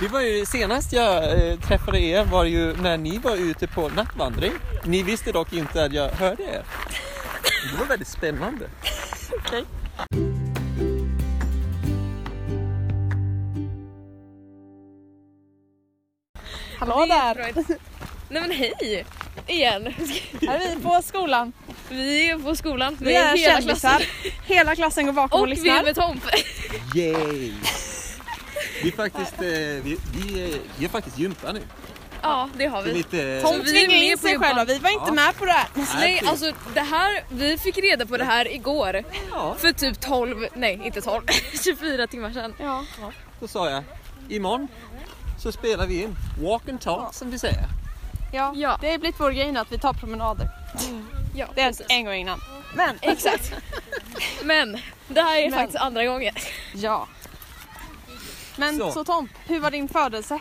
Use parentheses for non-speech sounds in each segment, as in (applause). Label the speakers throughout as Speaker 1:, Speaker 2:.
Speaker 1: Det var ju senast jag eh, träffade er var ju när ni var ute på nattvandring. Ni visste dock inte att jag hörde er. Det var väldigt spännande.
Speaker 2: Okej.
Speaker 3: Hallå där!
Speaker 2: Nej men hej! Igen.
Speaker 3: Här är vi på skolan.
Speaker 2: Vi är på skolan.
Speaker 3: Vi är
Speaker 2: hela klassen.
Speaker 3: kändisar. Hela klassen går bakom och,
Speaker 2: Och vi
Speaker 3: lyssnar.
Speaker 2: är med Tomp.
Speaker 1: Yay! Vi är faktiskt, eh, vi, vi, är, vi är faktiskt gympa nu.
Speaker 2: (laughs) Ja, det har
Speaker 1: Det är
Speaker 2: vi.
Speaker 1: Lite, eh,
Speaker 2: Så
Speaker 3: Tom
Speaker 2: vi är
Speaker 3: tvingade
Speaker 2: med
Speaker 3: in
Speaker 2: på
Speaker 3: sig
Speaker 2: gympan.
Speaker 3: själva, vi var inte
Speaker 1: Ja.
Speaker 3: med på det här.
Speaker 2: Nej, alltså det här, vi fick reda på det här igår.
Speaker 1: Ja,
Speaker 2: För typ 12, nej inte (laughs) 12, 24 timmar sedan.
Speaker 3: Ja.
Speaker 1: då sa jag. Imorgon så spelar vi in walk and talk som vi säger.
Speaker 3: Ja.
Speaker 2: Ja.
Speaker 3: det har blivit vår grej nu att vi tar promenader.
Speaker 2: Ja,
Speaker 3: Det är
Speaker 2: precis.
Speaker 3: en gång innan. Men,
Speaker 2: Exakt. Men det här är
Speaker 3: Men.
Speaker 2: faktiskt andra gången.
Speaker 3: ja. Men
Speaker 1: Så.
Speaker 3: så. Tom, hur var din födelse?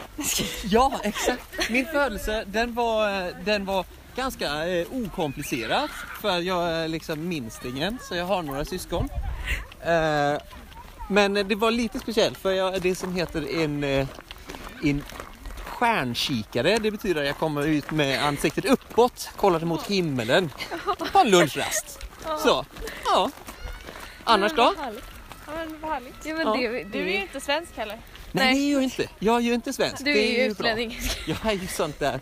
Speaker 1: Ja, exakt. Min födelse den var, den var ganska eh, okomplicerad för jag är liksom minstingen så jag har några syskon. Eh, men det var lite speciellt för jag är det som heter en, eh, en stjärnkikare. Det betyder att jag kommer ut med ansiktet uppåt, kollar mot himmelen på en lunchrast. Så, ja. Annars då?
Speaker 3: Ja, men vad härligt.
Speaker 2: Ja, men
Speaker 1: Ja.
Speaker 2: det, det,
Speaker 3: Du är ju inte svensk heller.
Speaker 1: Nej, det är ju inte. Jag är ju inte svensk.
Speaker 2: du
Speaker 1: det
Speaker 2: är ju
Speaker 1: bra.
Speaker 2: utlänning.
Speaker 1: Jag är ju sånt där,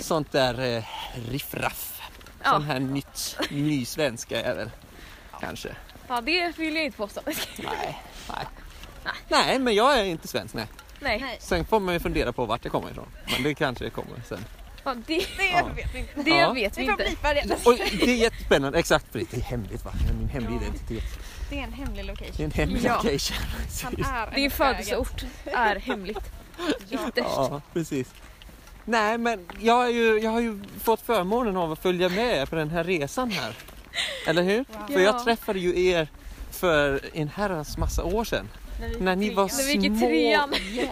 Speaker 1: sånt där eh, riffraff.
Speaker 2: Ja.
Speaker 1: Sån här nytt, ny svenska är jag väl. Kanske.
Speaker 2: Ja, det vill jag inte påstå. (laughs)
Speaker 1: Nej, nej. Nej, men jag är inte svensk. Nej.
Speaker 2: Nej,
Speaker 1: Sen får man ju fundera på vart jag kommer ifrån. Men det kanske kommer sen.
Speaker 2: ja, det,
Speaker 3: Det
Speaker 1: Ja.
Speaker 3: vet vi inte.
Speaker 2: det
Speaker 1: Ja.
Speaker 2: vet vi
Speaker 3: Vi får
Speaker 2: inte.
Speaker 3: blipa det.
Speaker 1: Och det är jättespännande. Exakt, Britt. Det är hemligt va? Det är min hemliga identitet.
Speaker 3: Det är en hemlig
Speaker 1: Det är
Speaker 3: location.
Speaker 1: en hemlig
Speaker 2: Ja.
Speaker 1: location. (laughs)
Speaker 3: Han är en
Speaker 2: Din
Speaker 3: bög.
Speaker 2: födelseort
Speaker 3: (laughs)
Speaker 2: är hemligt. Ytterst.
Speaker 1: Ja, precis. Nej, men jag, är ju, jag har ju fått förmånen av att följa med er på den här resan här. Eller hur? För jag
Speaker 2: Ja.
Speaker 1: träffade ju er för en herrans massa år sedan.
Speaker 3: vi
Speaker 1: När ni var
Speaker 2: När vi gick i
Speaker 1: små...
Speaker 2: trean.
Speaker 1: Jäk-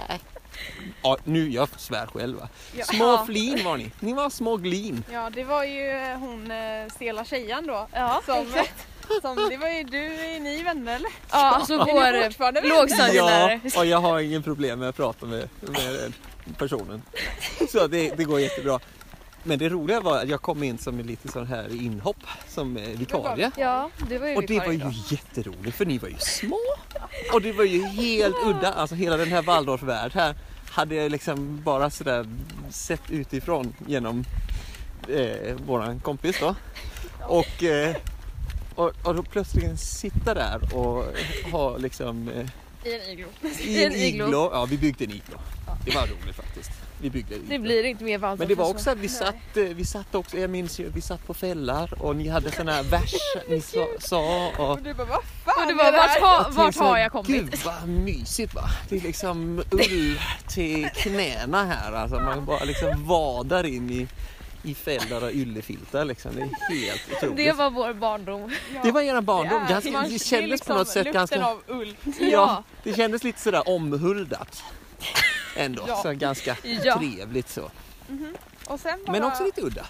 Speaker 1: Ja, nu, jag svär själva.
Speaker 3: Ja.
Speaker 1: Små flin var ni. Ni var små glin.
Speaker 3: Ja, det var ju eh, hon eh, stela tjejan då. Eh,
Speaker 2: Ja,
Speaker 3: Som, (laughs) som, det var ju du, är ni vänner eller?
Speaker 2: Ja, alltså
Speaker 3: Är ni
Speaker 2: vår
Speaker 3: fortfarande vänner?
Speaker 1: Ja,
Speaker 2: lågstadielärare.
Speaker 1: och jag har ingen problem med att prata med, med den personen. Så det, det går jättebra. Men det roliga var att jag kom in som en lite sån här inhopp som eh, vikarie.
Speaker 2: Ja, det var ju
Speaker 1: Och det var
Speaker 2: vikarie
Speaker 1: ju
Speaker 2: då.
Speaker 1: jätteroligt för ni var ju små. Och det var ju helt udda. Alltså hela den här Waldorf värld här hade jag liksom bara sådär sett utifrån genom eh, våran kompis då. Och, eh, och, och då plötsligt sitta där och ha liksom eh,
Speaker 2: I en iglo.
Speaker 1: i en
Speaker 2: iglo.
Speaker 1: iglo. Ja, vi byggde en iglo. Det var roligt faktiskt. Vi byggde en iglo.
Speaker 2: Det blir inte mer Waldorf.
Speaker 1: Men det var
Speaker 2: än så.
Speaker 1: också att vi satt, eh, vi satt också, jag minns ju, vi satt på fällar och ni hade sådana
Speaker 2: (laughs)
Speaker 1: här verser ni sa, sa och
Speaker 3: Och du bara, vad fan
Speaker 2: Och det
Speaker 3: är
Speaker 2: var,
Speaker 3: det här?
Speaker 2: vart, har-
Speaker 1: jag
Speaker 2: vart
Speaker 1: tänkte så
Speaker 2: har
Speaker 1: här,
Speaker 2: jag kommit?
Speaker 1: Gud vad mysigt va? Det är liksom ull till knäna här alltså. Man bara liksom vadar in i, i fällar och yllefiltar liksom. Det är helt otroligt.
Speaker 2: Det var vår barndom.
Speaker 1: det var era barndom.
Speaker 3: är-
Speaker 1: Ganska,
Speaker 3: man-
Speaker 1: det
Speaker 3: är
Speaker 1: kändes på något
Speaker 3: liksom
Speaker 1: sätt ganska...
Speaker 3: Lukten av ull.
Speaker 1: Ja, det kändes lite sådär omhuldat. Ändå,
Speaker 3: Ja.
Speaker 1: så ganska
Speaker 2: Ja.
Speaker 1: trevligt så.
Speaker 3: Och sen bara,
Speaker 1: Men också lite udda.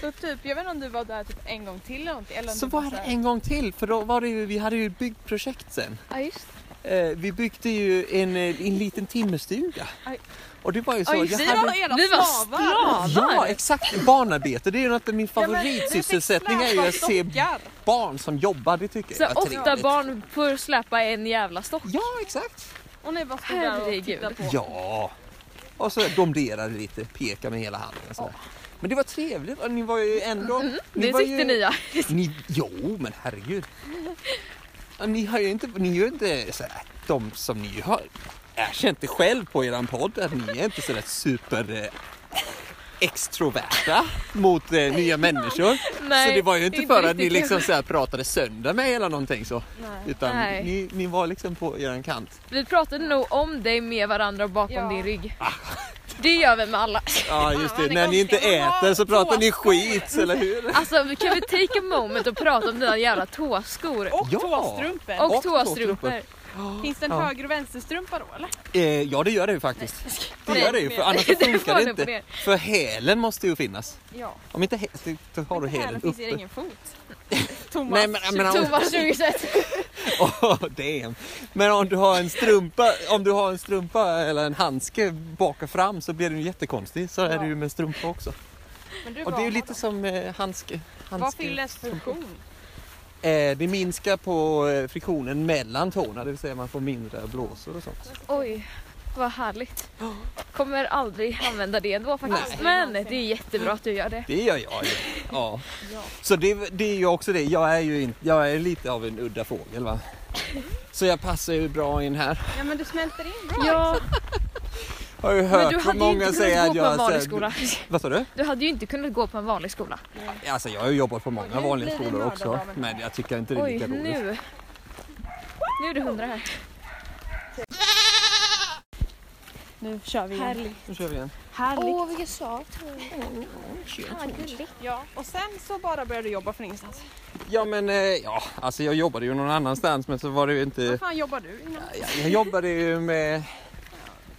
Speaker 3: så typ, jag vet inte om du var där typ en gång till eller någonting. Eller om
Speaker 1: Så
Speaker 3: du
Speaker 1: var
Speaker 3: bara
Speaker 1: det
Speaker 3: här-
Speaker 1: en gång till, för då var det ju, vi hade ju ett byggprojekt sen.
Speaker 2: Ja, just
Speaker 1: Eh, vi byggde ju en, eh, en liten timmerstuga.
Speaker 3: Aj.
Speaker 1: Och det var ju så.
Speaker 2: Oj, vi
Speaker 3: Vi
Speaker 1: hade-
Speaker 3: var hela
Speaker 2: Vi var
Speaker 3: slavar.
Speaker 1: Ja, exakt. Barnarbete. Det är ju något av min
Speaker 3: Ja, men vi
Speaker 1: favoritsysselsättning
Speaker 3: fick
Speaker 1: är ju att
Speaker 3: släpa
Speaker 1: se
Speaker 3: dockar.
Speaker 1: barn som jobbar. Det tycker
Speaker 2: Så
Speaker 1: jag är
Speaker 2: åtta
Speaker 1: trevligt.
Speaker 2: barn får släpa en jävla stock.
Speaker 1: Ja, exakt.
Speaker 3: Och ni bara stod där och
Speaker 2: Herregud.
Speaker 3: tittade på.
Speaker 1: Ja. Och så domderade lite, pekade med hela handen. Så. Men det var trevligt och ni var ju ändå...
Speaker 2: Mm. Det
Speaker 1: var
Speaker 2: tyckte
Speaker 1: ju,
Speaker 2: ni ja.
Speaker 1: Ni, jo, men herregud. Ja, Ni har ju inte, ni är ju inte så här, de som ni har erkänt det själv på eran podd att ni är inte sådär super eh, extroverta mot eh,
Speaker 2: (laughs)
Speaker 1: nya människor.
Speaker 2: Nej,
Speaker 1: så det var ju inte,
Speaker 2: inte
Speaker 1: för att ni
Speaker 2: riktigt.
Speaker 1: liksom så här, pratade sönder mig eller någonting så. Utan
Speaker 2: Nej.
Speaker 1: ni, ni var liksom på eran kant.
Speaker 2: Vi pratade nog om dig med varandra och bakom
Speaker 3: Ja.
Speaker 2: din rygg. Det gör vi med alla.
Speaker 1: Ja just det,
Speaker 3: vad ni
Speaker 1: när ni inte
Speaker 3: konstiga. Man har
Speaker 1: äter så pratar ni
Speaker 3: tåskor.
Speaker 1: skit eller
Speaker 2: (laughs)
Speaker 1: hur?
Speaker 2: Alltså vi kan vi take a moment och prata om dina jävla tåskor?
Speaker 3: Och
Speaker 1: Ja.
Speaker 3: tåstrumpor.
Speaker 2: Och,
Speaker 1: och
Speaker 2: tåstrumpor.
Speaker 1: tåstrumpor.
Speaker 3: Finns det en
Speaker 1: Ja.
Speaker 3: höger och vänsterstrumpa då eller?
Speaker 1: Eh, ja det gör det ju faktiskt. Det
Speaker 3: Nej.
Speaker 1: gör det ju för annars
Speaker 2: (laughs) Det
Speaker 1: funkar
Speaker 2: var
Speaker 1: det
Speaker 2: det på
Speaker 1: inte.
Speaker 2: det.
Speaker 1: För hälen måste ju finnas.
Speaker 3: Ja.
Speaker 1: Om inte hälen, då har du
Speaker 3: Här
Speaker 1: hälen (laughs)
Speaker 3: finns det
Speaker 1: uppe.
Speaker 3: ingen fot. (laughs) Thomas.
Speaker 1: (laughs) Nej men, men, om-
Speaker 2: Thomas 2021.
Speaker 1: Oh, damn. Men om du, har en strumpa, om du har en strumpa eller en handske bak och fram så blir den ju jättekonstig. Så är det ju med strumpa också.
Speaker 3: Men du,
Speaker 1: Och det är ju
Speaker 3: vad-
Speaker 1: lite som eh, handske.
Speaker 3: Vad
Speaker 1: handske.
Speaker 3: fyller funktion?
Speaker 1: Eh, det minskar på eh, friktionen mellan tårna, det vill säga man får mindre blåsor och sånt.
Speaker 2: Oj,
Speaker 1: (gasps)
Speaker 2: vad härligt. Kommer aldrig använda det ändå faktiskt. Men det är jättebra att du gör det.
Speaker 1: Det gör jag ju. (laughs) Ja. Så det, det är ju också det, jag är ju in, jag är lite av en udda fågel va. Så jag passar ju bra in här.
Speaker 3: Ja men du smälter in bra.
Speaker 2: Ja,
Speaker 1: Har ju
Speaker 2: men
Speaker 1: hört
Speaker 2: du hade ju
Speaker 1: många
Speaker 2: inte
Speaker 1: säga
Speaker 2: kunnat
Speaker 1: att
Speaker 2: gå på
Speaker 1: jag
Speaker 2: en vanlig
Speaker 1: så här-
Speaker 2: skola.
Speaker 1: Vad sa du?
Speaker 2: Du hade ju inte kunnat gå på en vanlig skola.
Speaker 1: Alltså jag har ju jobbat på
Speaker 3: Och
Speaker 1: många
Speaker 3: nu
Speaker 1: vanliga
Speaker 3: blir vi
Speaker 1: skolor
Speaker 3: mördade
Speaker 1: också.
Speaker 3: av en-
Speaker 1: Men jag tycker inte det är
Speaker 2: Oj,
Speaker 1: lika roligt.
Speaker 2: nu. Nu är det hundra här.
Speaker 3: Nu kör vi igen.
Speaker 2: Härligt.
Speaker 1: Nu kör vi igen.
Speaker 3: Härligt.
Speaker 4: Åh, vilken sak. Fan, gulligt.
Speaker 3: Ja, och sen så bara började du jobba från ingenstans.
Speaker 1: Ja men eh, ja, alltså jag jobbade ju någon annanstans men så var det ju
Speaker 3: Vad
Speaker 1: inte...
Speaker 3: fan jobbar du innan?
Speaker 1: Jag, jag jobbade ju med,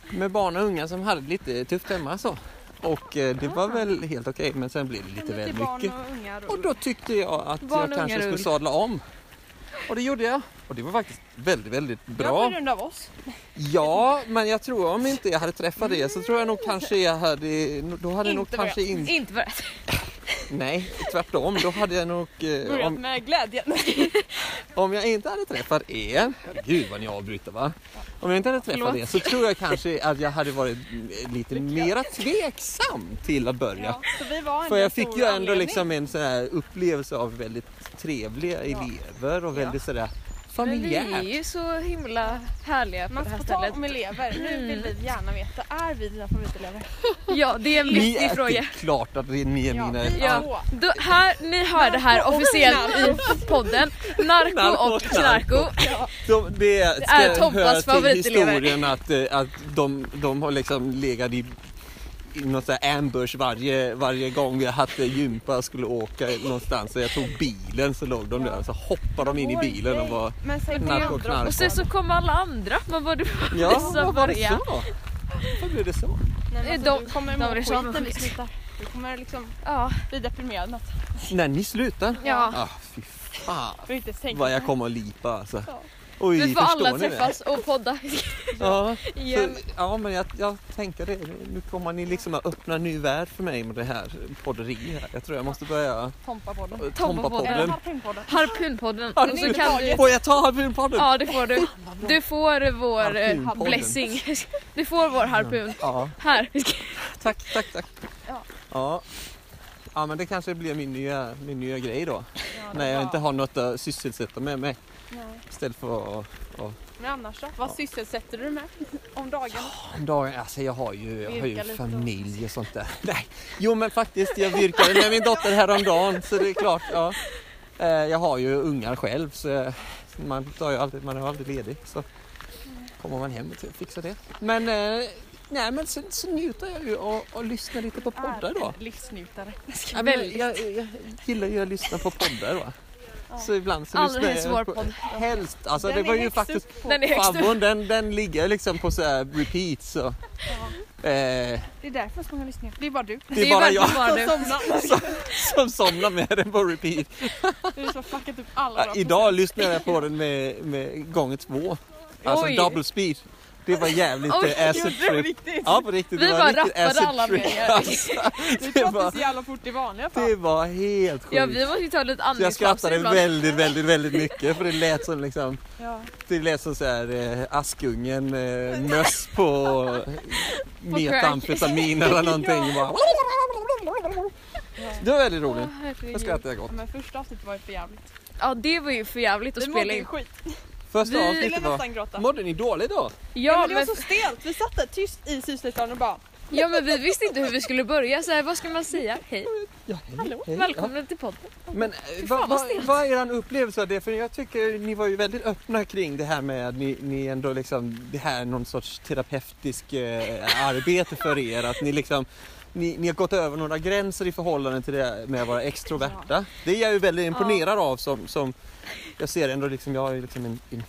Speaker 1: med barn och unga som hade det lite tufft hemma så. Och eh, det var väl helt okej men sen blev det lite väl mycket.
Speaker 3: Barn och ungar och...
Speaker 1: Och då tyckte jag att
Speaker 2: Barn och
Speaker 1: jag kanske
Speaker 2: ungar,
Speaker 1: skulle
Speaker 2: Ulf.
Speaker 1: sadla om. Och det gjorde jag. Och det var faktiskt väldigt, väldigt
Speaker 3: Det var
Speaker 1: bra.
Speaker 3: på grund av oss.
Speaker 1: Ja, men jag tror om inte jag hade träffat det så tror jag nog kanske jag hade... Då hade jag nog
Speaker 3: Inte
Speaker 1: kanske inte...
Speaker 2: Inte börjat.
Speaker 1: Nej, tvärtom. Då hade jag nog... Eh,
Speaker 3: Börjat
Speaker 1: om,
Speaker 3: med glädje.
Speaker 1: om jag inte hade träffat er... Gud vad ni avbryter va? Om jag inte hade träffat er så tror jag kanske att jag hade varit eh, lite mera tveksam till att börja.
Speaker 3: Ja, så vi var ändå
Speaker 1: För
Speaker 3: en
Speaker 1: jag fick
Speaker 3: stor
Speaker 1: ju ändå
Speaker 3: anledning.
Speaker 1: liksom en sån här upplevelse av väldigt trevliga elever och väldigt sådär
Speaker 2: Men vi är
Speaker 1: familjärt.
Speaker 2: ju så himla härliga på
Speaker 3: Man
Speaker 2: det här
Speaker 3: ska ta
Speaker 2: stället.
Speaker 3: om elever. Nu vill vi gärna veta, är vi dina favoritelever?
Speaker 2: Ja, det är en
Speaker 1: Ni är
Speaker 2: viktig
Speaker 1: det är
Speaker 2: fråga.
Speaker 1: klart att ni är mina...
Speaker 3: vi
Speaker 2: Ja.
Speaker 3: två.
Speaker 2: Då, här, ni hör det här officiellt i podden. Narko och Knarko.
Speaker 1: De, det är, ska
Speaker 2: är Tompas
Speaker 1: höra till
Speaker 2: favoritelever.
Speaker 1: historien att, eh, att de, de har liksom legat i, i något sånt här ambush varje, varje gång jag hade gympa och skulle åka någonstans. Så jag tog bilen så låg de där och så hoppade de in i bilen och var
Speaker 3: Men säg
Speaker 1: Knark och
Speaker 3: vad andra-
Speaker 1: knark.
Speaker 2: Och sen så kom alla andra. Man bara, du
Speaker 1: Ja,
Speaker 2: så
Speaker 1: vad var det
Speaker 2: börja.
Speaker 1: så? Vad blev det så?
Speaker 3: Nej, men
Speaker 2: De-
Speaker 3: alltså, du kommer
Speaker 2: de
Speaker 3: må
Speaker 2: blir
Speaker 3: skit
Speaker 2: så
Speaker 3: när vi
Speaker 2: avundsjuka.
Speaker 3: slutar. Du kommer liksom
Speaker 2: Ja,
Speaker 3: bli deprimerad något.
Speaker 1: När ni slutar?
Speaker 2: ja.
Speaker 1: Ah, fy fan
Speaker 3: Du inte tänka
Speaker 1: vad jag kommer att lipa alltså.
Speaker 3: Ja.
Speaker 1: Oj,
Speaker 2: Nu får
Speaker 1: förstår
Speaker 2: alla
Speaker 1: ni det?
Speaker 2: träffas och podda
Speaker 1: Ja, så,
Speaker 2: igen.
Speaker 1: ja men jag, jag tänker det. Nu kommer ni liksom att öppna en ny värld för mig med det här podderiet. här. Jag tror jag måste börja
Speaker 3: Tompa på dem.
Speaker 1: Tompa-podden.
Speaker 3: Harpunpodden.
Speaker 2: Harpunpodden. Nu
Speaker 1: Absolut.
Speaker 2: kan du,
Speaker 1: Får jag ta harpunpodden?
Speaker 2: ja, det får du. Du får vår eh,
Speaker 1: Harpunpodden.
Speaker 2: blessing. Du får vår harpun.
Speaker 1: Ja,
Speaker 2: Här.
Speaker 1: tack, tack, tack.
Speaker 3: Ja.
Speaker 1: Ja. Ja men det kanske blir min nya, min nya grej då.
Speaker 3: Ja, det
Speaker 1: När
Speaker 3: är
Speaker 1: jag
Speaker 3: bra.
Speaker 1: inte har något att sysselsätta med mig.
Speaker 3: Nej.
Speaker 1: Istället för att...
Speaker 3: Men annars då? Vad sysselsätter du dig med om dagen?
Speaker 1: Dagen, alltså jag har ju, jag har
Speaker 3: Virka
Speaker 1: ju
Speaker 3: lite
Speaker 1: familj och sånt där. (laughs) Nej. Jo men faktiskt, jag virkade med min dotter häromdagen så det är klart. Ja. Eh, Jag har ju ungar själv så eh, man, tar ju alltid, man är aldrig ledig. Så kommer man hem och fixar det. Men, eh, nej, men sen så njuter jag ju och, och lyssnar lite på poddar då.
Speaker 3: Livsnjutare.
Speaker 1: Ja, men jag, jag gillar ju att lyssna på poddar va. Så ibland så
Speaker 2: Allra
Speaker 1: lyssnar
Speaker 2: helst
Speaker 1: jag
Speaker 2: vår
Speaker 1: på,
Speaker 2: podd.
Speaker 1: helst, alltså
Speaker 3: Den
Speaker 1: det
Speaker 3: är
Speaker 1: var ju
Speaker 3: högst
Speaker 1: faktiskt
Speaker 3: upp på-
Speaker 2: Den är högst upp.
Speaker 1: Favvon den, den ligger liksom på så här repeat så. Eh,
Speaker 3: Det är därför så många lyssningar. Det är bara du.
Speaker 1: det är bara jag
Speaker 2: verkligen
Speaker 3: Som
Speaker 2: bara
Speaker 1: (laughs)
Speaker 2: du.
Speaker 3: somnar.
Speaker 1: som somnar med den på repeat.
Speaker 3: Du som fuckat upp alla
Speaker 1: Ja,
Speaker 3: våra
Speaker 1: idag lyssnade jag på den med, med gånger två. Alltså
Speaker 2: Oj.
Speaker 1: double speed. Det var jävligt
Speaker 2: Oj,
Speaker 1: eh, acid
Speaker 3: procent. Gjorde du
Speaker 1: trip.
Speaker 3: riktigt?
Speaker 1: Ja på riktigt.
Speaker 2: Vi
Speaker 1: det var
Speaker 2: bara
Speaker 1: riktigt
Speaker 2: rappade
Speaker 1: acid
Speaker 2: alla
Speaker 1: trip.
Speaker 2: meningar. (laughs)
Speaker 1: Alltså,
Speaker 3: Vi
Speaker 1: det,
Speaker 3: pratar
Speaker 1: var,
Speaker 3: så jävla fort i vanliga fall.
Speaker 1: det var helt sjukt.
Speaker 2: Ja, vi liksom måste ju ta lite
Speaker 1: Så jag
Speaker 2: andningspaus
Speaker 1: skrattade
Speaker 2: ibland.
Speaker 1: väldigt, väldigt, väldigt mycket för det lät som liksom
Speaker 3: Ja.
Speaker 1: Det lät som så här, eh, Askungen eh, möss (laughs) på metamfetamin eller (laughs) någonting. Bara... Det var väldigt roligt.
Speaker 2: Åh,
Speaker 1: Jag
Speaker 2: herregud.
Speaker 1: skrattade gott.
Speaker 3: Ja, Men första avsnittet var ju för jävligt.
Speaker 2: Ja, det var ju för jävligt att
Speaker 3: Vi
Speaker 2: spela
Speaker 3: mådde ju
Speaker 2: in.
Speaker 3: skit.
Speaker 1: Första
Speaker 2: Vi-
Speaker 3: Vi ville
Speaker 1: avsnittet var...
Speaker 3: nästan gråta.
Speaker 1: Mådde ni dåligt då?
Speaker 3: Ja,
Speaker 2: Ja,
Speaker 3: men det var
Speaker 2: men,
Speaker 3: så stelt. Vi satt där tyst i sysslestan och bara
Speaker 2: ja, men vi visste inte hur vi skulle börja. Så här, vad ska man säga? Hej,
Speaker 1: Ja, hej, hej.
Speaker 2: välkomna till podden.
Speaker 1: Ja. Men eh, vad va, vad är er upplevelse av det? För jag tycker ni var ju väldigt öppna kring det här med att ni, ni ändå liksom, det här är någon sorts terapeutisk eh, arbete för er. Att ni liksom, ni, ni har gått över några gränser i förhållande till det här med att vara extroverta. Det är jag ju väldigt imponerad av som, som jag ser ändå liksom, jag är ju liksom en, en,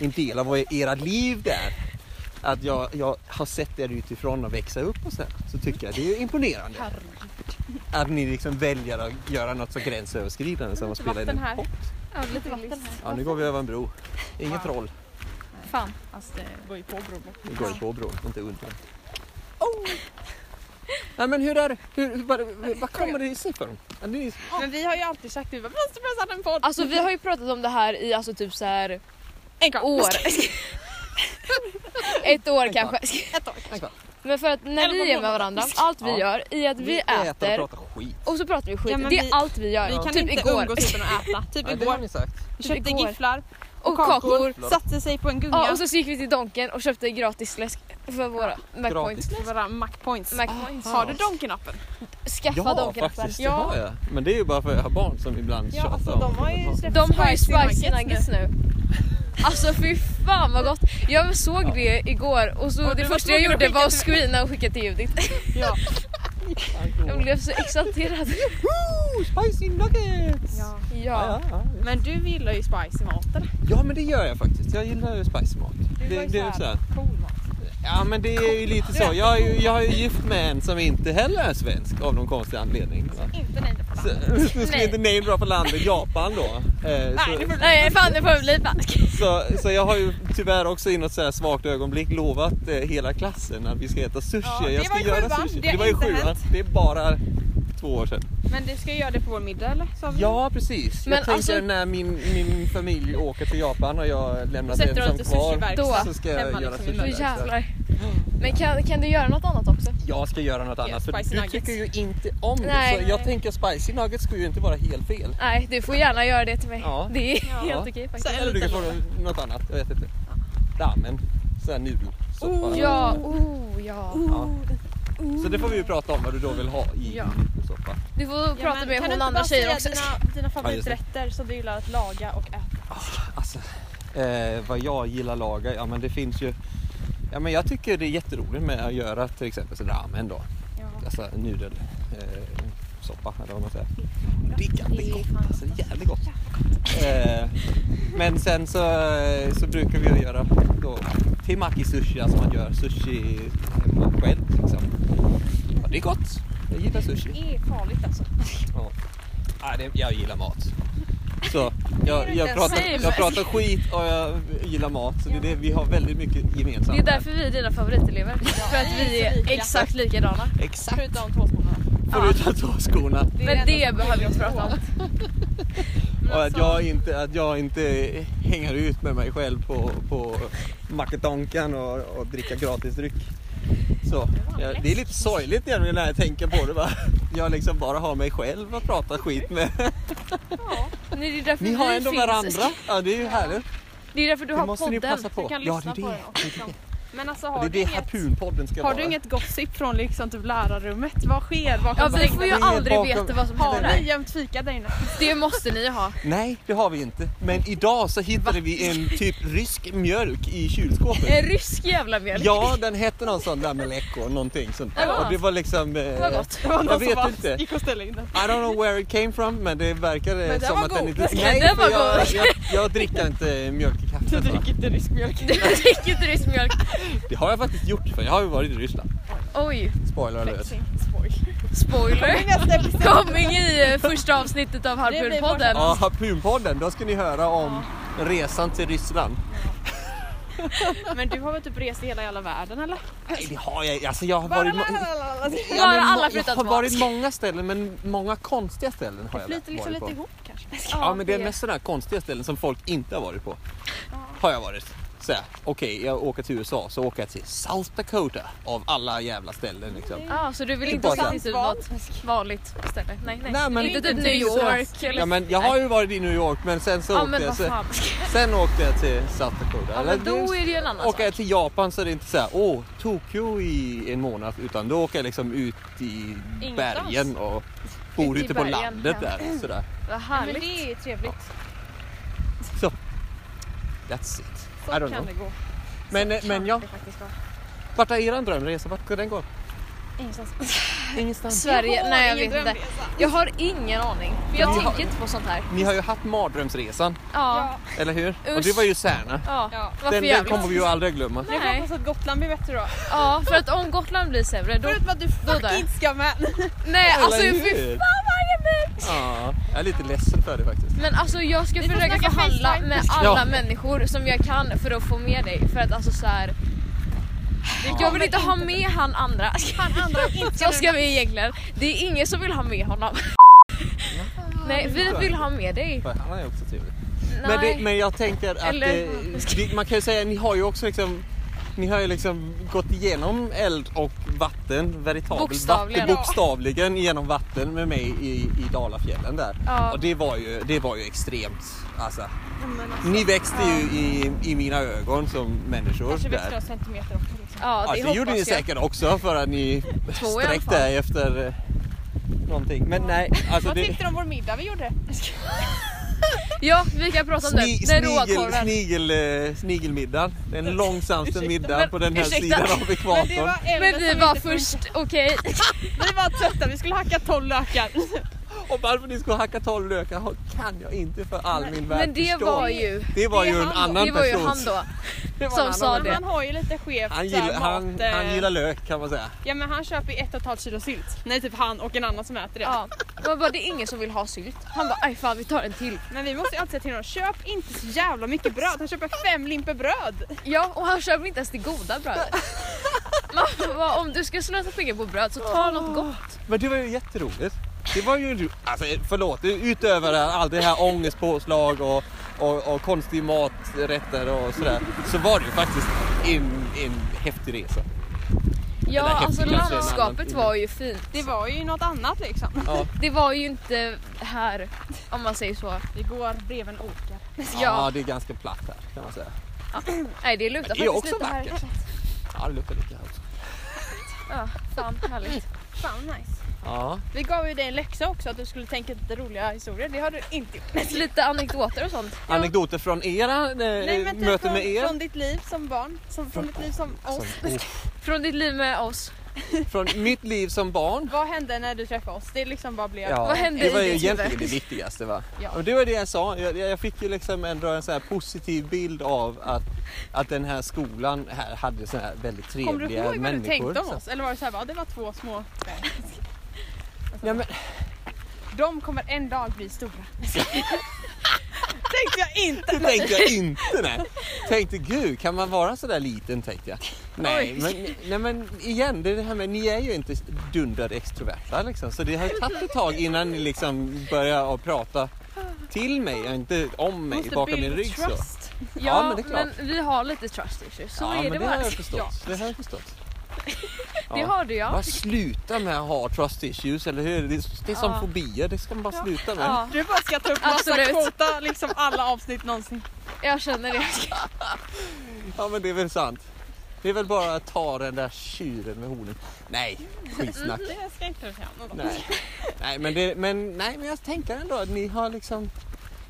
Speaker 1: en del av era liv där. Att jag, jag har sett er utifrån och växa upp och så, här, så tycker jag det är imponerande. Att ni liksom väljer att göra något så gränsöverskridande som att spela in
Speaker 3: vatten
Speaker 1: en
Speaker 3: här.
Speaker 1: pop.
Speaker 5: Ja, lite
Speaker 3: vatten
Speaker 5: vatten.
Speaker 3: här.
Speaker 1: Ja, nu går vi över en bro. Inget troll.
Speaker 5: Fan.
Speaker 3: Alltså det går ju på bron.
Speaker 1: Vi går ju på bron, inte under. den. Nej men hur är det? Hur, vad, vad kommer det sig från? Ja, det är-
Speaker 3: Men vi har ju alltid sagt vi bara måste börja starta en podd.
Speaker 2: Alltså vi har ju pratat om det här i alltså typ så här
Speaker 3: en gång.
Speaker 2: år. (laughs) Ett år
Speaker 1: En kvart.
Speaker 2: kanske.
Speaker 3: (laughs) Ett år.
Speaker 1: Nej, klart.
Speaker 2: Men för att när
Speaker 3: Eller
Speaker 2: vi
Speaker 3: på
Speaker 2: är med
Speaker 3: måndag.
Speaker 2: varandra, allt vi
Speaker 1: Ja.
Speaker 2: gör är att vi,
Speaker 1: äter
Speaker 2: äter
Speaker 1: och pratar skit.
Speaker 2: och så pratar vi skit.
Speaker 3: Ja, men
Speaker 2: det är
Speaker 3: vi-
Speaker 2: allt vi gör.
Speaker 3: Vi kan
Speaker 2: typ
Speaker 3: inte
Speaker 2: igår. typ
Speaker 3: umgås utan att
Speaker 2: (laughs)
Speaker 3: äta. Typ
Speaker 1: Ja, det har
Speaker 3: igår.
Speaker 1: ni sagt.
Speaker 3: Vi köpte
Speaker 2: igår.
Speaker 3: gifflar
Speaker 2: Och kakor.
Speaker 3: Satte sig på en gunga.
Speaker 2: Ja, och så gick vi till Donken och köpte gratis läsk för våra Macpoints.
Speaker 3: För våra Macpoints.
Speaker 2: Macpoints.
Speaker 3: Ah, Har du Donken-appen?
Speaker 2: Skaffa
Speaker 1: Ja
Speaker 2: Donken appen.
Speaker 1: faktiskt, det har jag. Men det är ju bara för att jag har barn som ibland tjatar
Speaker 3: alltså,
Speaker 1: om att ha-
Speaker 2: De har ju spicy nuggets nu. Alltså fy fan vad gott. Jag såg det igår och så
Speaker 3: Och
Speaker 2: det
Speaker 3: du var
Speaker 2: första jag
Speaker 3: tvungen att
Speaker 2: gjorde var
Speaker 3: skicka
Speaker 2: att
Speaker 3: till-
Speaker 2: screena och skicka till Judith.
Speaker 1: (laughs)
Speaker 3: Ja.
Speaker 2: Jag blev så exalterad.
Speaker 1: Woo, spicy nuggets!
Speaker 3: Ja.
Speaker 2: Ja.
Speaker 1: Ja, ja, ja.
Speaker 3: Men du gillar ju spice i maten.
Speaker 1: ja men det gör jag faktiskt. Jag gillar ju spicy mat.
Speaker 3: Du
Speaker 1: Det,
Speaker 3: var
Speaker 1: det är
Speaker 3: ju
Speaker 1: så här.
Speaker 3: cool mat.
Speaker 1: Ja men det är ju lite så. Jag är ju, jag är ju gift med en som inte heller är svensk av någon konstig anledning. va.
Speaker 3: Inte nej på
Speaker 1: Så, nu ska vi inte namedroppa landet Japan då. Eh,
Speaker 3: Nej, det
Speaker 1: så,
Speaker 3: får bli.
Speaker 2: Nej fan det får bli back.
Speaker 1: så, så jag har ju tyvärr också i något så här svagt ögonblick lovat eh, hela klassen att vi ska äta sushi.
Speaker 3: Ja, det
Speaker 1: jag ska
Speaker 3: var i
Speaker 1: göra
Speaker 3: sjuan.
Speaker 1: sushi.
Speaker 3: Det har
Speaker 1: Det var ju
Speaker 3: inte
Speaker 1: sjuan.
Speaker 3: hänt. Mm.
Speaker 1: Det är bara två år sedan.
Speaker 3: Men du ska ju göra det på vår middag eller? Sa vi?
Speaker 1: Ja precis.
Speaker 2: Men
Speaker 1: jag tänker
Speaker 2: alltså-
Speaker 1: när min, min familj åker till Japan och jag lämnar
Speaker 3: Sätter de
Speaker 1: det ensam
Speaker 3: lite
Speaker 1: kvar
Speaker 3: sushiverkstad
Speaker 1: så ska jag
Speaker 3: hemma
Speaker 1: göra
Speaker 3: liksom i
Speaker 2: Nu
Speaker 1: sushi.
Speaker 2: jävlar. Men kan, kan du göra något annat också?
Speaker 1: Jag ska göra något annat för
Speaker 3: spicy
Speaker 1: du
Speaker 3: nuggets.
Speaker 1: tycker ju inte om det.
Speaker 2: Nej.
Speaker 1: Så jag tänker spicy nuggets skulle ju inte vara helt fel.
Speaker 2: Nej du får gärna göra det till mig.
Speaker 1: Ja.
Speaker 2: Det är
Speaker 1: Ja.
Speaker 2: helt okej
Speaker 3: Så
Speaker 2: faktiskt.
Speaker 3: en
Speaker 1: Eller du
Speaker 3: liten
Speaker 1: kan fråga något annat. Jag vet inte. Ramen. Sån här nudelsoppa.
Speaker 2: Ja, oh ja.
Speaker 1: Ja. Så det får vi ju prata om vad du då vill ha i
Speaker 2: Ja.
Speaker 1: nudelsoppa.
Speaker 2: Du får
Speaker 3: Ja,
Speaker 2: prata
Speaker 3: men
Speaker 2: med
Speaker 3: kan du
Speaker 2: hon
Speaker 3: inte
Speaker 2: andra
Speaker 3: bara
Speaker 2: tjejer
Speaker 3: säga
Speaker 2: också.
Speaker 3: Dina, dina
Speaker 1: Ja, just det.
Speaker 3: favoriträtter som du gillar att laga och äta.
Speaker 1: Alltså, eh, vad jag gillar laga, ja men det finns ju... Ja men jag tycker det är jätteroligt med att göra till exempel så ramen då.
Speaker 3: Ja.
Speaker 1: Alltså nudelsoppa eh, soppa, eller vad man säger. Det är jävligt gott alltså, det är jävligt gott. Eh, men sen så, eh, så brukar vi ju göra då temaki sushi, alltså man gör sushi hemma själv liksom. Ja, det är gott, jag gillar sushi.
Speaker 3: Det är farligt alltså.
Speaker 1: Ja. Nej, det, jag gillar mat. Så, jag, jag, pratar,
Speaker 2: Same.
Speaker 1: jag pratar skit och jag gillar mat. Så det, är det, vi har väldigt mycket gemensamt.
Speaker 2: Det är
Speaker 1: där.
Speaker 2: därför vi är dina favoritelever. För att vi
Speaker 3: så
Speaker 2: är
Speaker 3: lika.
Speaker 2: exakt likadana.
Speaker 1: Exakt,
Speaker 3: Förutom tåsmålarna.
Speaker 1: förutom tåskorna.
Speaker 2: Men det behöver vi inte prata om.
Speaker 1: Och att jag
Speaker 2: alltså-
Speaker 1: inte, att jag inte hänger ut med mig själv på, på Maketonkan och, och dricka gratisdryck. Så, jag, det är lite sorgligt egentligen när jag tänker på det. Va? Jag liksom bara har mig själv att prata skit med.
Speaker 2: Nej, det är därför
Speaker 1: Ni har
Speaker 2: vi
Speaker 1: ändå
Speaker 2: finns.
Speaker 1: varandra. Ja, det är ju härligt.
Speaker 2: Det är därför du
Speaker 1: Det
Speaker 2: har
Speaker 1: måste ni
Speaker 2: podden.
Speaker 1: passa på.
Speaker 3: Du kan
Speaker 1: Ja,
Speaker 3: lyssna
Speaker 1: det är
Speaker 3: på
Speaker 1: det.
Speaker 3: den också. liksom. Men alltså
Speaker 1: Det
Speaker 3: har,
Speaker 1: är det
Speaker 3: du, inget,
Speaker 1: harpunpodden ska
Speaker 3: har
Speaker 1: vara.
Speaker 3: du inget gossip från liksom typ lärarrummet? Vad sker
Speaker 2: Ja,
Speaker 3: bakom
Speaker 2: vi får ju
Speaker 1: Ingen
Speaker 2: aldrig
Speaker 1: bakom-
Speaker 2: veta vad som
Speaker 3: Har
Speaker 2: händer
Speaker 3: ni
Speaker 2: där.
Speaker 3: jämt fika där inne?
Speaker 2: Det måste ni ha.
Speaker 1: Nej, det har vi inte. Men idag så hittade vi en typ rysk mjölk
Speaker 3: (laughs)
Speaker 1: i kylskåpet.
Speaker 2: En rysk jävla mjölk.
Speaker 1: Ja, den hette någon sån där Meleko, någonting sånt där.
Speaker 2: Ja.
Speaker 1: Och det var liksom... Eh,
Speaker 2: Det var gott. (laughs)
Speaker 3: Det var någon
Speaker 1: (laughs) Jag
Speaker 3: som
Speaker 1: vet
Speaker 3: bara
Speaker 1: inte.
Speaker 3: gick och ställde in den.
Speaker 1: I don't know where it came from, men det verkade
Speaker 3: Men (laughs) den
Speaker 1: som
Speaker 3: var
Speaker 1: att den
Speaker 3: god.
Speaker 1: inte... Nej,
Speaker 2: Den
Speaker 1: för
Speaker 2: var
Speaker 1: jag,
Speaker 2: god.
Speaker 1: jag, jag dricker inte mjölk i
Speaker 3: Du
Speaker 1: kaffet. va?
Speaker 3: dricker inte rysk mjölk.
Speaker 2: Du dricker inte rysk mjölk.
Speaker 1: Det har jag faktiskt gjort, för jag har ju varit i Ryssland.
Speaker 2: Oj,
Speaker 1: Spoiler alert.
Speaker 2: (laughs)
Speaker 3: (laughs)
Speaker 2: spoiler. Coming i eh, första avsnittet
Speaker 3: blir
Speaker 2: av Harpunpodden.
Speaker 1: Ja, Harpunpodden, då ska ni höra om resan till Ryssland.
Speaker 3: Men du har väl typ rest i hela jävla världen eller?
Speaker 1: Nej, det har jag Alltså jag har varit... må- (laughs)
Speaker 2: Nu har
Speaker 1: men må-
Speaker 2: alla
Speaker 1: jag
Speaker 2: flyttat
Speaker 1: har
Speaker 2: på.
Speaker 1: varit många ställen, men många konstiga ställen har jag
Speaker 3: Flyter liksom
Speaker 1: varit på.
Speaker 3: lite ihop kanske.
Speaker 1: Ja, men det är
Speaker 2: det.
Speaker 1: mest sådana här konstiga ställen som folk inte har varit på. Har jag varit. Så här, Okej, jag åker till USA så åker jag till South Dakota av alla jävla ställen. Liksom.
Speaker 2: Ja, så du vill
Speaker 1: Det är
Speaker 2: inte
Speaker 1: bara
Speaker 2: åka till typ något vanligt ställe? Nej, nej.
Speaker 1: Nej, men-
Speaker 2: inte typ
Speaker 1: inte
Speaker 2: New
Speaker 1: till sådär.
Speaker 2: York eller...
Speaker 1: Ja, men jag har ju varit i New York men sen så
Speaker 2: Ja,
Speaker 1: åkte
Speaker 2: men
Speaker 1: jag
Speaker 2: vad
Speaker 1: så,
Speaker 2: fan.
Speaker 1: sen åkte jag till South Dakota.
Speaker 2: Ja,
Speaker 1: Eller
Speaker 2: men då är det ju en annan
Speaker 1: åker
Speaker 2: sak.
Speaker 1: jag till Japan så är det inte så här, åh, Tokyo i en månad utan då åker jag liksom ut i
Speaker 3: Ingenstans.
Speaker 1: bergen och bor
Speaker 2: Ut i
Speaker 1: ute på
Speaker 2: bergen,
Speaker 1: landet där. Sådär.
Speaker 2: Vad
Speaker 3: Men
Speaker 2: härligt.
Speaker 3: det är ju trevligt.
Speaker 1: Så, that's it. I
Speaker 3: Så
Speaker 1: don't
Speaker 3: kan
Speaker 1: know.
Speaker 3: det gå.
Speaker 1: Men, eh, men ja,
Speaker 3: Det faktiskt vara.
Speaker 1: vart är er drömresa? Vart ska den gå?
Speaker 3: Ingenstans.
Speaker 1: Ingenstans.
Speaker 2: Sverige?
Speaker 3: Åh,
Speaker 2: nej, jag
Speaker 3: ingen
Speaker 2: vet inte.
Speaker 3: drömresa.
Speaker 2: Jag har ingen aning. För jag
Speaker 1: Ni har-
Speaker 2: tänker inte på sånt här.
Speaker 1: Ni har ju haft mardrömsresan,
Speaker 2: Ja.
Speaker 1: eller hur? Och det
Speaker 2: Usch.
Speaker 1: var ju Särna.
Speaker 2: Ja.
Speaker 3: Ja.
Speaker 2: Vad för
Speaker 1: Den, den
Speaker 2: jävligt.
Speaker 1: kommer vi ju aldrig glömma.
Speaker 3: Jag
Speaker 2: Nej.
Speaker 3: hoppas att Gotland blir bättre då.
Speaker 2: Ja, för att om Gotland blir sämre då...
Speaker 3: Förutom att du (laughs)
Speaker 2: Då där.
Speaker 3: fucking ska med.
Speaker 2: Nej, alltså fy
Speaker 1: fan vad det Ja, Jag är lite ledsen för det faktiskt.
Speaker 2: Men alltså jag ska
Speaker 3: Vi får
Speaker 2: försöka
Speaker 3: snacka
Speaker 2: förhandla
Speaker 3: FaceTime.
Speaker 2: med alla
Speaker 1: Ja.
Speaker 2: människor som jag kan för att få med dig. För att alltså så här. Jag vill inte ha med han andra.
Speaker 3: Han
Speaker 2: (laughs)
Speaker 3: andra inte
Speaker 2: Så ska vi egentligen. Det är ingen som vill ha
Speaker 1: (laughs)
Speaker 2: med honom. Nej, vi vill ha med dig.
Speaker 1: För han är också trevlig. Men, det,
Speaker 2: Nej.
Speaker 1: men jag tänker att
Speaker 2: Eller-
Speaker 1: eh, det, man kan ju säga ni har ju också liksom ni har ju liksom gått igenom eld och vatten, veritabelt
Speaker 2: Bokstavligen.
Speaker 1: vatten, bokstavligen genom vatten med mig i, i Dalafjällen där.
Speaker 2: Ja.
Speaker 1: Och det var ju, det var ju extremt. Alltså. Ni växte ju i, i mina ögon som människor.
Speaker 3: Kanske växte
Speaker 1: där.
Speaker 3: några centimeter också. Liksom.
Speaker 2: Ja, det
Speaker 1: Ja, det gjorde ni
Speaker 2: hoppas jag.
Speaker 1: säkert också för att ni
Speaker 2: i alla
Speaker 1: sträckte
Speaker 2: fall.
Speaker 1: er efter eh, någonting. Men nej, alltså
Speaker 3: Vad
Speaker 1: det,
Speaker 3: tyckte du om vår middag vi gjorde?
Speaker 2: Ja, vi kan prata om den.
Speaker 1: Sni,
Speaker 2: Den
Speaker 1: snigel,
Speaker 2: råkorven.
Speaker 1: snigel, eh, snigelmiddag. Den långsamste middag
Speaker 2: Men,
Speaker 1: på den här
Speaker 2: ursäkta.
Speaker 1: sidan av
Speaker 3: Men det
Speaker 1: ekvatorn.
Speaker 3: var äldre
Speaker 2: Men vi
Speaker 3: som
Speaker 1: Alltså,
Speaker 2: var
Speaker 3: inte funkar.
Speaker 2: först, okej.
Speaker 3: Vi var trötta, vi skulle hacka 12
Speaker 1: (laughs)
Speaker 3: lökar.
Speaker 1: Och varför ni skulle hacka tolv lökar har- kan jag inte för all min värld
Speaker 2: Men det
Speaker 1: förstå.
Speaker 2: var ju,
Speaker 1: det var
Speaker 3: det är
Speaker 1: ju en
Speaker 3: han då.
Speaker 1: annan
Speaker 2: det var ju
Speaker 1: persons-
Speaker 2: han då.
Speaker 1: (laughs) det var en
Speaker 2: som
Speaker 1: annan
Speaker 2: sa
Speaker 1: person.
Speaker 2: det.
Speaker 3: Han har ju lite skevt
Speaker 1: Han
Speaker 3: så här
Speaker 1: gillar, han,
Speaker 3: mat, eh,
Speaker 1: han gillar lök kan man säga.
Speaker 3: Ja men han köper ju ett och ett halvt kilo sylt. Nej typ han och en annan som äter det.
Speaker 2: Ja. Man bara, det är ingen som vill ha sylt. Han bara, aj fan vi tar en till.
Speaker 3: Men vi måste ju alltid säga till honom, köp inte så jävla mycket bröd. Han köper fem limper bröd.
Speaker 2: Ja, och han köper inte ens det goda
Speaker 1: (laughs)
Speaker 2: brödet. Man bara, om du ska slösa pengar på bröd så ta något gott.
Speaker 1: Men det var ju jätteroligt. Det var ju, en ro- alltså förlåt, utöver allt det här ångestpåslag och, och, och konstig maträtter och sådär. Så var det ju faktiskt en, en häftig resa.
Speaker 2: Ja,
Speaker 1: Eller häftigt
Speaker 2: alltså
Speaker 1: kanske, en annan
Speaker 2: landskapet
Speaker 1: tid.
Speaker 2: var ju fint.
Speaker 3: Det var ju något annat liksom.
Speaker 1: Ja,
Speaker 2: Det var ju inte här, om man säger så.
Speaker 3: Vi går bredvid en åker.
Speaker 1: ja. det är ganska platt här kan man säga.
Speaker 2: Nej, det luktar
Speaker 1: Det är
Speaker 2: faktiskt
Speaker 1: också
Speaker 2: lite här.
Speaker 1: vackert. Ja, det luktar lite här också.
Speaker 2: Ja, fan härligt.
Speaker 3: Fan nice.
Speaker 1: Ja.
Speaker 3: Vi gav ju dig en läxa också att du skulle tänka lite roliga historier. Det har du inte
Speaker 1: (laughs)
Speaker 3: gjort.
Speaker 2: Lite anekdoter och sånt.
Speaker 1: Anekdoter från era eh,
Speaker 3: men typ
Speaker 1: möten
Speaker 3: från,
Speaker 1: med
Speaker 3: från
Speaker 1: er?
Speaker 3: ditt liv som barn. Som, från ditt liv som oss.
Speaker 1: Som- oh,
Speaker 2: Från ditt liv med oss.
Speaker 1: Från mitt liv som barn.
Speaker 3: Vad hände när du träffade oss? Det liksom bara blev...
Speaker 1: Ja,
Speaker 2: Vad hände
Speaker 1: det
Speaker 2: i
Speaker 1: var ju
Speaker 2: ditt huvud?
Speaker 1: egentligen det viktigaste va?
Speaker 3: Ja.
Speaker 1: Men det var det jag sa, jag, jag fick ju liksom ändå en så här positiv bild av att, att den här skolan här hade så här väldigt trevliga
Speaker 3: Kommer du ihåg vad du
Speaker 1: människor.
Speaker 3: tänkte om
Speaker 1: så-
Speaker 3: oss? Alltså. Eller var det såhär, det var två små...
Speaker 1: Ja, men, (laughs)
Speaker 3: De kommer en dag bli stora. tänkte jag inte.
Speaker 1: det tänkte jag inte nej. Tänkte gud, kan man vara så där liten tänkte jag. Nej men, nej men igen, det är det här med ni är ju inte dundrade extroverta liksom. Så det har ju tagit ett tag innan ni liksom börjar att prata till mig och inte om mig
Speaker 3: Måste
Speaker 1: bakom min
Speaker 3: build
Speaker 1: rygg så.
Speaker 3: trust.
Speaker 2: Ja,
Speaker 1: Ja, men
Speaker 2: men,
Speaker 1: det är klart.
Speaker 2: vi har lite trust issues. Så
Speaker 1: ja,
Speaker 2: är
Speaker 1: men
Speaker 2: det,
Speaker 1: det
Speaker 2: bara.
Speaker 1: har jag förstått. Det har jag förstått.
Speaker 2: Det har du ja.
Speaker 1: Bara sluta med att ha trust issues, eller hur? Det är, det är som fobier, det ska man bara sluta med.
Speaker 2: ja.
Speaker 3: Du bara ska ta upp massa
Speaker 2: Absolut.
Speaker 3: kvota, liksom alla avsnitt någonsin.
Speaker 2: Jag känner (laughs) det.
Speaker 1: Ja men det är väl sant. Det är väl bara att ta den där tjuren med hornen. Nej, skitsnack.
Speaker 3: Det ska jag inte säga något om.
Speaker 1: Nej. Nej, men det, men, nej men jag tänker ändå att ni har liksom,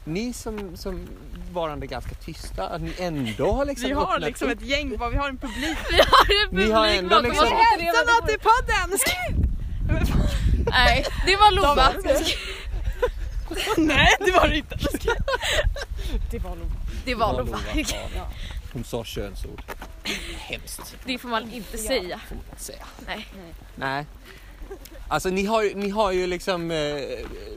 Speaker 1: ni som, som varande ganska tysta, att ni ändå har liksom
Speaker 3: Vi har
Speaker 1: öppnat
Speaker 3: liksom
Speaker 1: upp.
Speaker 3: ett gäng, bara, vi har en publik.
Speaker 1: Ni har ändå
Speaker 2: Publik
Speaker 1: liksom-
Speaker 2: bakom oss.
Speaker 3: Välkomna till podden!
Speaker 2: Nej, det var Lova.
Speaker 3: (laughs) Nej det var det inte. Det var nog.
Speaker 2: Det
Speaker 1: Ja,
Speaker 2: var Lova.
Speaker 1: ja. Hon sa könsord. Hemskt.
Speaker 2: Det får man inte säga.
Speaker 1: får man inte säga.
Speaker 2: Nej.
Speaker 1: Nej. Alltså ni har, ju- ni har ju liksom eh,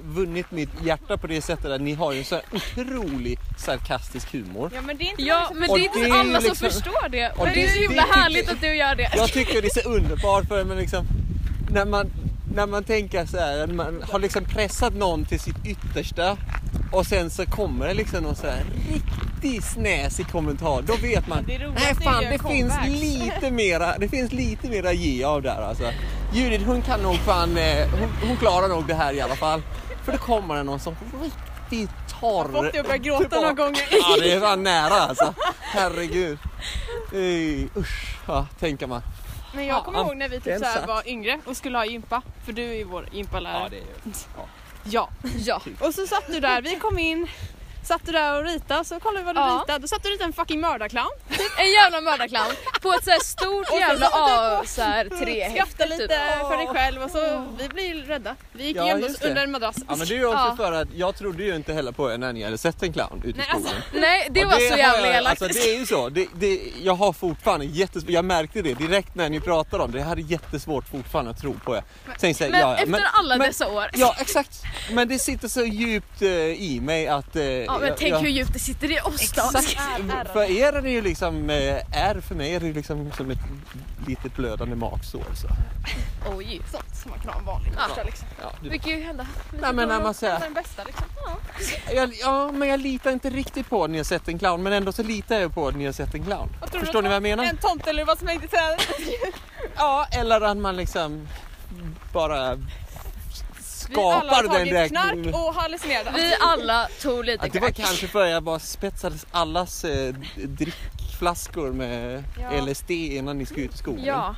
Speaker 1: vunnit mitt hjärta på det sättet att ni har ju en så här otrolig sarkastisk humor.
Speaker 3: Ja men det är inte
Speaker 2: Ja, men det
Speaker 1: Och
Speaker 2: är inte
Speaker 1: det är ju
Speaker 2: alla som
Speaker 1: liksom-
Speaker 2: förstår det.
Speaker 1: och
Speaker 2: Men det är
Speaker 1: det-
Speaker 2: så
Speaker 1: det
Speaker 2: himla
Speaker 1: tycker-
Speaker 2: härligt att du gör det.
Speaker 1: Jag tycker det är så underbart för men liksom när man, när man tänker så här, att man har liksom pressat någon till sitt yttersta och sen så kommer det liksom någon så här riktigt snäsig kommentar. Då vet man,
Speaker 3: det är roligt,
Speaker 1: nej
Speaker 3: det är
Speaker 1: fan
Speaker 3: ju en
Speaker 1: det finns
Speaker 3: comeback."
Speaker 1: lite mera, det finns lite mera att ge av där alltså. Judith hon kan nog fan, eh, hon, hon klarar nog det här i alla fall. För då kommer det någon som riktigt torr.
Speaker 3: Fått dig att börja gråta någon gång.
Speaker 1: Ja, det är fan nära alltså. Herregud. Ej, usch, ja, tänker man.
Speaker 3: Men jag kommer
Speaker 1: Ja,
Speaker 3: ihåg när vi typ
Speaker 1: den
Speaker 3: så här
Speaker 1: satt.
Speaker 3: var yngre och skulle ha gympa. För du är ju vår gympalärare.
Speaker 1: det är ja.
Speaker 3: Ja.
Speaker 2: Ja.
Speaker 3: Och så satt du där, vi kom in, satt du där och ritade så kollade vi vad du
Speaker 2: Ja.
Speaker 3: ritade. Då satt du och ritade en fucking mördarclown.
Speaker 2: En jävla mördarclown.
Speaker 6: på ett så här stort jävla A, så här, tre
Speaker 3: Skratta lite
Speaker 6: Typ.
Speaker 3: för dig själv och så vi blir rädda. Vi gick
Speaker 1: Ja,
Speaker 3: och gömde
Speaker 1: just
Speaker 3: oss
Speaker 1: det.
Speaker 3: under en madrass.
Speaker 1: Ja men det är ju också
Speaker 6: Ja.
Speaker 1: för att jag trodde ju inte heller på er när ni hade sett en clown ute i
Speaker 3: Nej,
Speaker 1: skogen.
Speaker 6: Nej alltså, det
Speaker 1: Ja,
Speaker 6: var så
Speaker 1: har
Speaker 6: jävla
Speaker 1: jag,
Speaker 6: elakt.
Speaker 1: alltså, Det är ju så. Det, det, jag har fortfarande jättesvårt, jag märkte det direkt när ni pratade om det. Jag hade jättesvårt fortfarande att tro på er. Sen, så, här,
Speaker 6: Men
Speaker 1: ja, ja,
Speaker 6: efter
Speaker 1: men,
Speaker 6: alla
Speaker 1: men,
Speaker 6: dessa år.
Speaker 1: Ja exakt. Men det sitter så djupt eh, i mig att... eh,
Speaker 6: Ja, men
Speaker 1: jag-
Speaker 6: tänk
Speaker 1: jag-
Speaker 6: hur djupt det sitter i oss då.
Speaker 1: Exakt. För er är det ju liksom, eh, är för mig är det ju liksom som ett litet blödande magsår. Så.
Speaker 6: Oj.
Speaker 3: Sånt som man kan ha en vanlig torsdag liksom.
Speaker 1: Ja, du,
Speaker 6: Det kan ju hända.
Speaker 1: nej, men när man säger,
Speaker 3: Den bästa liksom.
Speaker 1: jag, ja men jag litar inte riktigt på att ni har sett en clown men ändå så litar jag på att ni har sett en clown.
Speaker 3: Vad tror du
Speaker 1: Förstår
Speaker 3: att
Speaker 1: ni vad jag menar?
Speaker 3: En tomteluva som hängde i trädet.
Speaker 1: Ja, eller att man liksom bara
Speaker 3: Vi alla har
Speaker 1: skapar den
Speaker 3: tagit
Speaker 1: reaktionen.
Speaker 3: knark och hallucinerade.
Speaker 6: Vi alla tog lite
Speaker 1: Att det var
Speaker 6: crack.
Speaker 1: kanske för att jag bara spetsade allas eh, drickflaskor med
Speaker 3: Ja.
Speaker 1: LSD innan ni skulle ut i skogen.
Speaker 6: Ja.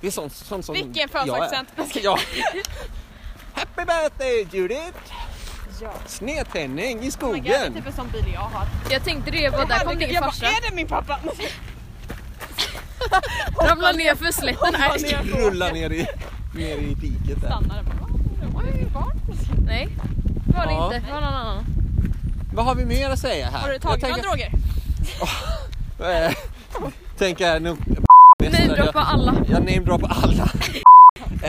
Speaker 1: Det är sånt, sånt som
Speaker 3: Vilken
Speaker 1: jag
Speaker 3: födelsedagspresent. (laughs)
Speaker 1: är. Ja. Happy birthday Judith!
Speaker 3: Ja.
Speaker 1: Snedtändning i
Speaker 3: Oh my God, det är
Speaker 1: skogen!
Speaker 3: typ en sån bil jag har.
Speaker 6: Jag tänkte det, var där kom
Speaker 3: Herregud,
Speaker 6: din
Speaker 3: jag
Speaker 6: farsa.
Speaker 3: bara, är det min pappa?
Speaker 6: Ramlade ner för slätten. Nej.
Speaker 1: Rulla ner i, ner i diket där.
Speaker 3: Stannar den bara. "Åh, det var ju barn."
Speaker 6: Nej. Det var det
Speaker 1: Ja.
Speaker 6: inte. Det var någon annan.
Speaker 1: Vad har vi mer att säga här?
Speaker 3: (laughs) Har du tagit
Speaker 1: jag
Speaker 3: några
Speaker 1: tänker,
Speaker 3: droger?
Speaker 1: eh, (laughs) tänker nog...
Speaker 6: Namedroppa alla.
Speaker 1: Jag namedroppar alla.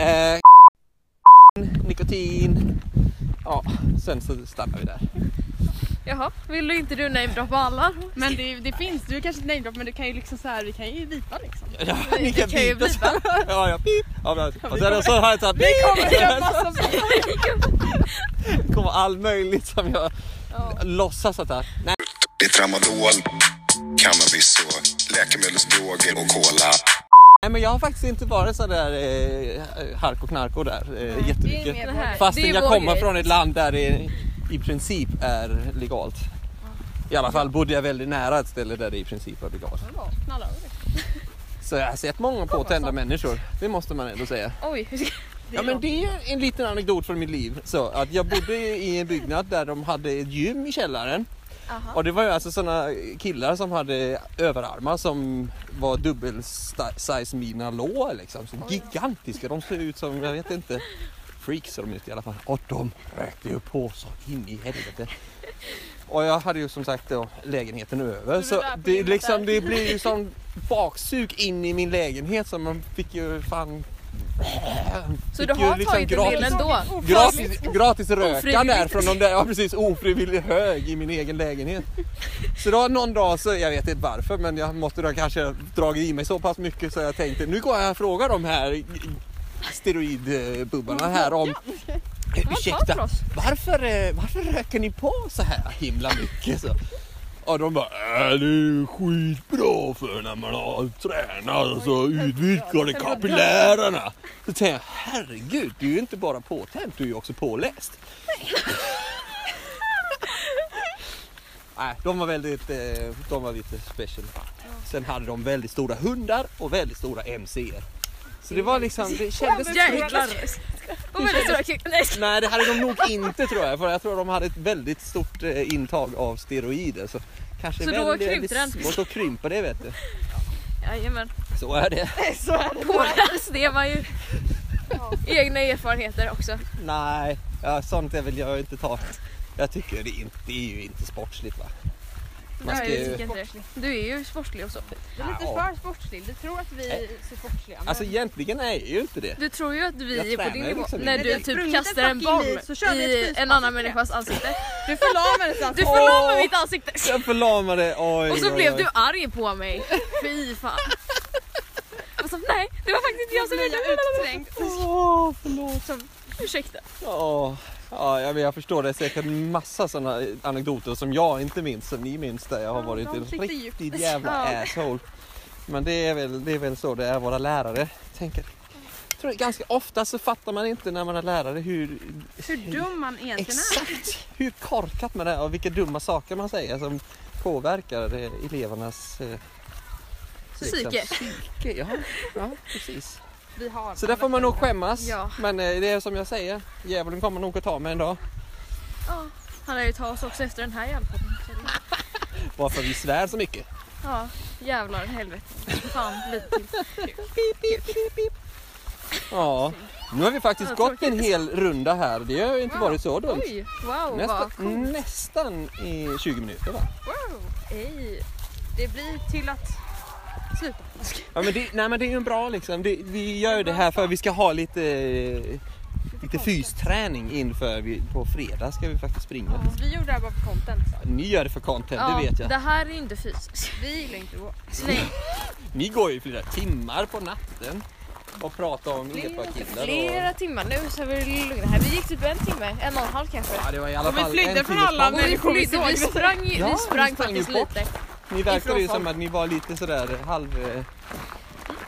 Speaker 1: (laughs) eh, nikotin. Ja, sen så stannar vi där.
Speaker 6: Jaha, vill du inte du namedroppa alla?
Speaker 3: Men det, det finns, du kanske inte namedroppar men du kan ju liksom så här, vi kan ju vipa liksom.
Speaker 1: Ja, ni
Speaker 6: kan ju
Speaker 1: pipa så- (laughs) Ja, ja, pip. Ja, men, och sen så har jag tagit
Speaker 3: Vi
Speaker 1: (laughs)
Speaker 3: kommer göra
Speaker 1: Alltså-
Speaker 3: massa saker.
Speaker 1: Det kommer all möjligt som jag låtsas att det är. Nej,
Speaker 7: Det är tramadol, cannabis och läkemedelsdroger och cola.
Speaker 1: men jag har faktiskt inte varit så där eh, hark och knarko där eh, jättemycket.
Speaker 3: mer-
Speaker 6: Det här, det
Speaker 1: Fastän
Speaker 6: är
Speaker 1: jag
Speaker 6: vår
Speaker 1: kommer
Speaker 6: grej.
Speaker 1: från ett land där det i princip är legalt. I alla fall bodde jag väldigt nära ett ställe där det i princip var legalt.
Speaker 3: Knalla över.
Speaker 1: Så jag har sett många påtända människor, det måste man ändå säga.
Speaker 6: Oj.
Speaker 1: Ja men det är en liten anekdot från mitt liv. Så att jag bodde i en byggnad där de hade ett gym i källaren. Och det var ju alltså sådana killar som hade överarmar som var dubbel sta- size mina lår liksom. Så gigantiska, de ser ut som, jag vet inte, freaks ser de ut i alla fall. Och de rökte ju på så in i helvete. Och jag hade ju som sagt då lägenheten över så
Speaker 3: där på
Speaker 1: det,
Speaker 3: gymmet
Speaker 1: liksom,
Speaker 3: där.
Speaker 1: det blir ju som baksug in i min lägenhet så man fick ju fan...
Speaker 6: Så
Speaker 1: fick
Speaker 6: du
Speaker 1: ju
Speaker 6: har
Speaker 1: liksom
Speaker 6: tagit en del ändå?
Speaker 1: Gratis, gratis röka
Speaker 6: Ofrivilligt.
Speaker 1: där från de där, ja precis, ofrivillig hög i min egen lägenhet. Så då någon dag så, jag vet inte varför, men jag måste då kanske ha dragit i mig så pass mycket så jag tänkte nu går jag och frågar de här steroidbubbarna här om Ursäkta, varför, eh, varför röker ni på så här himla mycket? Så. Och de bara, äh, det är ju skitbra för när man har tränat så utvidgar det kapillärerna. Så tänker jag, herregud, du är ju inte bara påtänd, du är ju också påläst. Nej, de var väldigt, eh, de var lite special. Sen hade de väldigt stora hundar och väldigt stora MCer. Så det var liksom, det kändes
Speaker 6: Jäklar. Och väldigt stora kick. Nej.
Speaker 1: Nej, det hade de nog inte tror jag. För jag tror de hade ett väldigt stort eh, intag av steroider. Så kanske
Speaker 6: Så då
Speaker 1: väldigt,
Speaker 6: krympte den.
Speaker 1: svårt att krympa det vet du.
Speaker 6: Jajamän.
Speaker 1: Så är det.
Speaker 6: Påläst, det är man ju. Egna erfarenheter också.
Speaker 1: Nej, ja, sånt är väl jag inte ta. Jag tycker det, är inte, det är ju inte sportsligt va. Man ska
Speaker 6: Nej, jag
Speaker 1: ju,
Speaker 6: tycker inte det. Du är ju sportlig och så.
Speaker 3: Du är lite
Speaker 1: Ja.
Speaker 3: för sportslig, du tror att vi är så sportsliga. men-
Speaker 1: alltså egentligen är jag ju inte det.
Speaker 6: Du tror ju att
Speaker 1: Jag
Speaker 6: vi är på
Speaker 1: tränar
Speaker 6: din
Speaker 1: ju
Speaker 6: nivå
Speaker 1: liksom
Speaker 6: när
Speaker 1: inte.
Speaker 6: du
Speaker 3: Men jag
Speaker 6: typ
Speaker 3: sprungit
Speaker 6: kastar en
Speaker 3: fucking
Speaker 6: boll
Speaker 3: mil, så körde vi ett
Speaker 6: i en
Speaker 3: frispark.
Speaker 6: annan människas ansikte.
Speaker 3: Du förlamade sen.
Speaker 6: Du
Speaker 3: Åh,
Speaker 6: förlamade mitt ansikte!
Speaker 1: Jag förlamade, oj
Speaker 6: Och så
Speaker 1: oj,
Speaker 6: blev
Speaker 1: oj.
Speaker 6: du arg på mig. Fy fan. Och så, nej, det var faktiskt inte jag som
Speaker 3: blir
Speaker 6: gjorde
Speaker 3: jag
Speaker 6: det.
Speaker 3: utträngd.
Speaker 1: Åh, förlåt.
Speaker 6: Ursäkta.
Speaker 1: Åh, Ja, jag, jag förstår det är säkert massa sådana anekdoter som jag inte minns, som ni minns där jag har
Speaker 3: Ja,
Speaker 1: varit
Speaker 3: de
Speaker 1: en
Speaker 3: sitter djupt.
Speaker 1: riktig jävla
Speaker 3: Ja.
Speaker 1: asshole. Men det är, väl, det är väl så det är, våra lärare tänker. Jag tror att ganska ofta så fattar man inte när man är lärare hur
Speaker 3: Hur dum man egentligen är.
Speaker 1: exakt hur korkat man är och vilka dumma saker man säger som påverkar eh, elevernas eh, liksom,
Speaker 6: Psyke.
Speaker 1: psyke. Ja, ja, precis.
Speaker 3: Vi har
Speaker 1: Så där får man nog skämmas.
Speaker 6: Ja.
Speaker 1: Men eh, det är som jag säger, djävulen kommer nog att ta mig en dag.
Speaker 6: Han lär ju ta oss också efter den här hjälpen.
Speaker 1: Varför vi svär så mycket.
Speaker 2: Ja, jävlar helvete. Fan, lite till.
Speaker 1: Ja. Nu har vi faktiskt gått en hel runda här. Det har ju inte varit så dumt.
Speaker 2: Oj, wow,
Speaker 1: Nästa,
Speaker 2: vad
Speaker 1: nästan i 20 minuter va?
Speaker 2: Ej.
Speaker 8: Det blir till att sluta.
Speaker 1: Ja, men det, nej men det är ju en bra liksom. Det, vi gör ju det här för vi ska ha lite, lite fysträning inför vi, på fredag ska vi faktiskt springa.
Speaker 3: alltså,
Speaker 8: Vi gjorde det här bara för content.
Speaker 1: Ni gör det för content,
Speaker 2: Ja,
Speaker 1: det vet jag.
Speaker 2: det här är ju inte fysiskt.
Speaker 1: (laughs)
Speaker 8: Vi gillar inte att gå.
Speaker 2: Nej,
Speaker 1: Ni går ju flera timmar på natten och pratar om epakillar och...
Speaker 3: Flera timmar nu så är vi lugna här. Vi gick typ en timme, en och en halv kanske.
Speaker 1: Ja, det var i alla
Speaker 8: Och vi
Speaker 1: fall
Speaker 8: flydde
Speaker 1: en
Speaker 8: från
Speaker 1: timmes
Speaker 8: alla
Speaker 1: bort.
Speaker 8: människor. kommer
Speaker 3: Vi flydde,
Speaker 8: ihåg.
Speaker 3: vi sprang,
Speaker 1: Ja,
Speaker 3: vi sprang
Speaker 1: vi sprang
Speaker 3: faktiskt
Speaker 1: ju bort.
Speaker 3: lite.
Speaker 1: Ni verkade ju
Speaker 3: ifrån
Speaker 1: som att ni var lite sådär halv eh,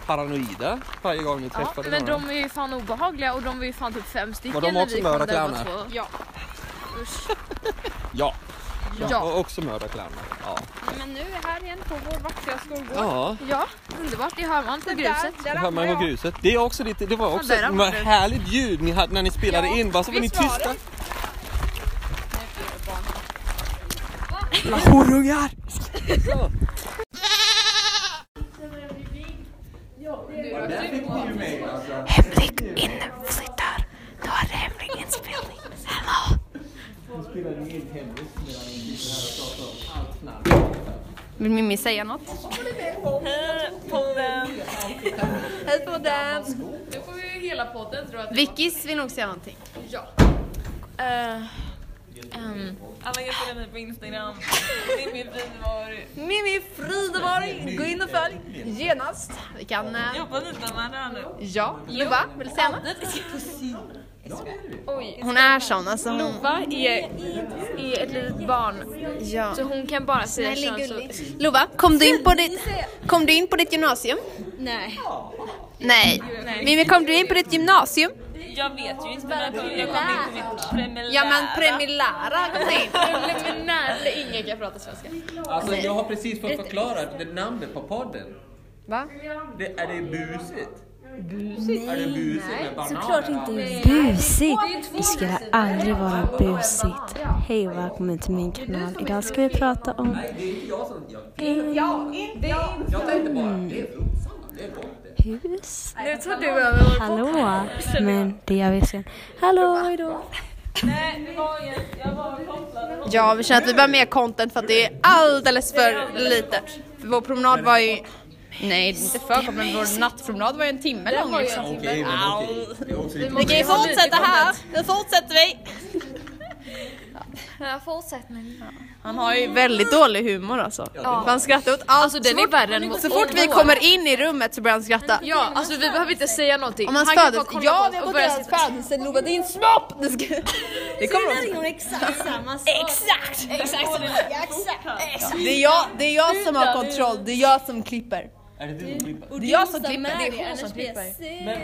Speaker 1: paranoida varje gång ni
Speaker 2: ja,
Speaker 1: träffade
Speaker 2: men
Speaker 1: någon.
Speaker 2: de är ju fan obehagliga och de var ju fan typ fem stycken
Speaker 1: Var de också
Speaker 2: när vi kom
Speaker 1: mördarkärnor?
Speaker 2: där båda två.
Speaker 8: Ja.
Speaker 2: Usch.
Speaker 1: Ja.
Speaker 2: Ja.
Speaker 1: Och också mördarklammer. Ja.
Speaker 8: Men nu är vi här igen på vår vackra skolgård.
Speaker 1: ja.
Speaker 2: Ja, underbart. Det hör man på gruset.
Speaker 8: Där,
Speaker 1: Det
Speaker 8: där
Speaker 1: hör man
Speaker 8: hamnar
Speaker 1: på
Speaker 8: jag.
Speaker 1: gruset. Det, är också lite, det var också
Speaker 2: där har
Speaker 1: ett
Speaker 2: man det.
Speaker 1: härligt ljud ni hade när ni spelade
Speaker 8: Ja,
Speaker 1: in. Bara så var ni
Speaker 8: visst var det?
Speaker 1: tysta. Jävla horungar! Så.
Speaker 3: Vill Mimmi säga något? Hej på den!
Speaker 2: Nu får vi ju hela podden tror jag.
Speaker 3: Vickis vill nog säga någonting.
Speaker 9: Alla gratulerar mig på Instagram. Det är min frivaror.
Speaker 3: Mimmi Frideborg, gå in och följ genast. Vi kan... eh,
Speaker 9: Jag hoppas ni tar med det här nu.
Speaker 3: Ja, Lova, vill du säga något?
Speaker 2: Oj.
Speaker 3: Hon är sån alltså. Hon...
Speaker 2: Lova är, är ett litet barn
Speaker 3: Ja.
Speaker 2: så hon kan bara säga
Speaker 10: Snäll är
Speaker 2: könsord.
Speaker 3: Lova, kom du, in på ditt, kom du in på ditt gymnasium? Nej. Nej. Mimmi, kom du in på ditt gymnasium?
Speaker 9: Jag vet ju inte men jag kommer jag kommer inte mitt preliminära.
Speaker 3: Ja men premilära kom (laughs) du in.
Speaker 2: Preliminärt, ingen kan prata svenska.
Speaker 1: Alltså jag har precis fått förklarat det namnet på podden.
Speaker 3: Va?
Speaker 1: Det, är det busigt? Busigt? Är det busigt med bananer?
Speaker 11: Såklart inte busigt. Det ska aldrig vara busigt. Hej och välkommen till min kanal. Idag ska vi prata om...
Speaker 1: Nej, det är inte jag som... Jag, jag tänkte bara, det är fruktsamma, det är gott det.
Speaker 11: Hus?
Speaker 2: Nu tar du över vår
Speaker 11: Hallå? Men det gör vi sen. Hallå, hejdå!
Speaker 9: Nej, det var inget. Jag var kopplad.
Speaker 3: Ja vi känner att vi behöver mer content för att det är alldeles för lite. För vår promenad var ju... Nej det är inte för kort men vår nattpromenad var ju en timme lång liksom.
Speaker 1: Okej, men okej. Det är också lite...
Speaker 3: Vi kan ju fortsätta här. Nu fortsätter vi.
Speaker 2: Ja, fortsättning.
Speaker 3: Han har ju väldigt dålig humor alltså. Han skrattar åt allt.
Speaker 2: Alltså den är värre än
Speaker 3: Så fort vi kommer in i rummet så börjar han skratta.
Speaker 2: Ja, alltså vi behöver inte säga någonting.
Speaker 3: Om hans
Speaker 2: Han kan
Speaker 3: födelse...
Speaker 2: bara kolla på
Speaker 3: Ja
Speaker 2: oss
Speaker 3: vi har
Speaker 2: och
Speaker 3: gått
Speaker 2: börja
Speaker 3: igenom
Speaker 2: skratta.
Speaker 3: hans födelse, Lova din snopp! Det ska- Det kommer också.
Speaker 9: Exakt! Exakt!
Speaker 3: Det är, jag, det är jag som har kontroll, det är jag som klipper.
Speaker 1: Är det du som klipper?
Speaker 3: Det är jag som klipper, det är hon som klipper.
Speaker 1: Men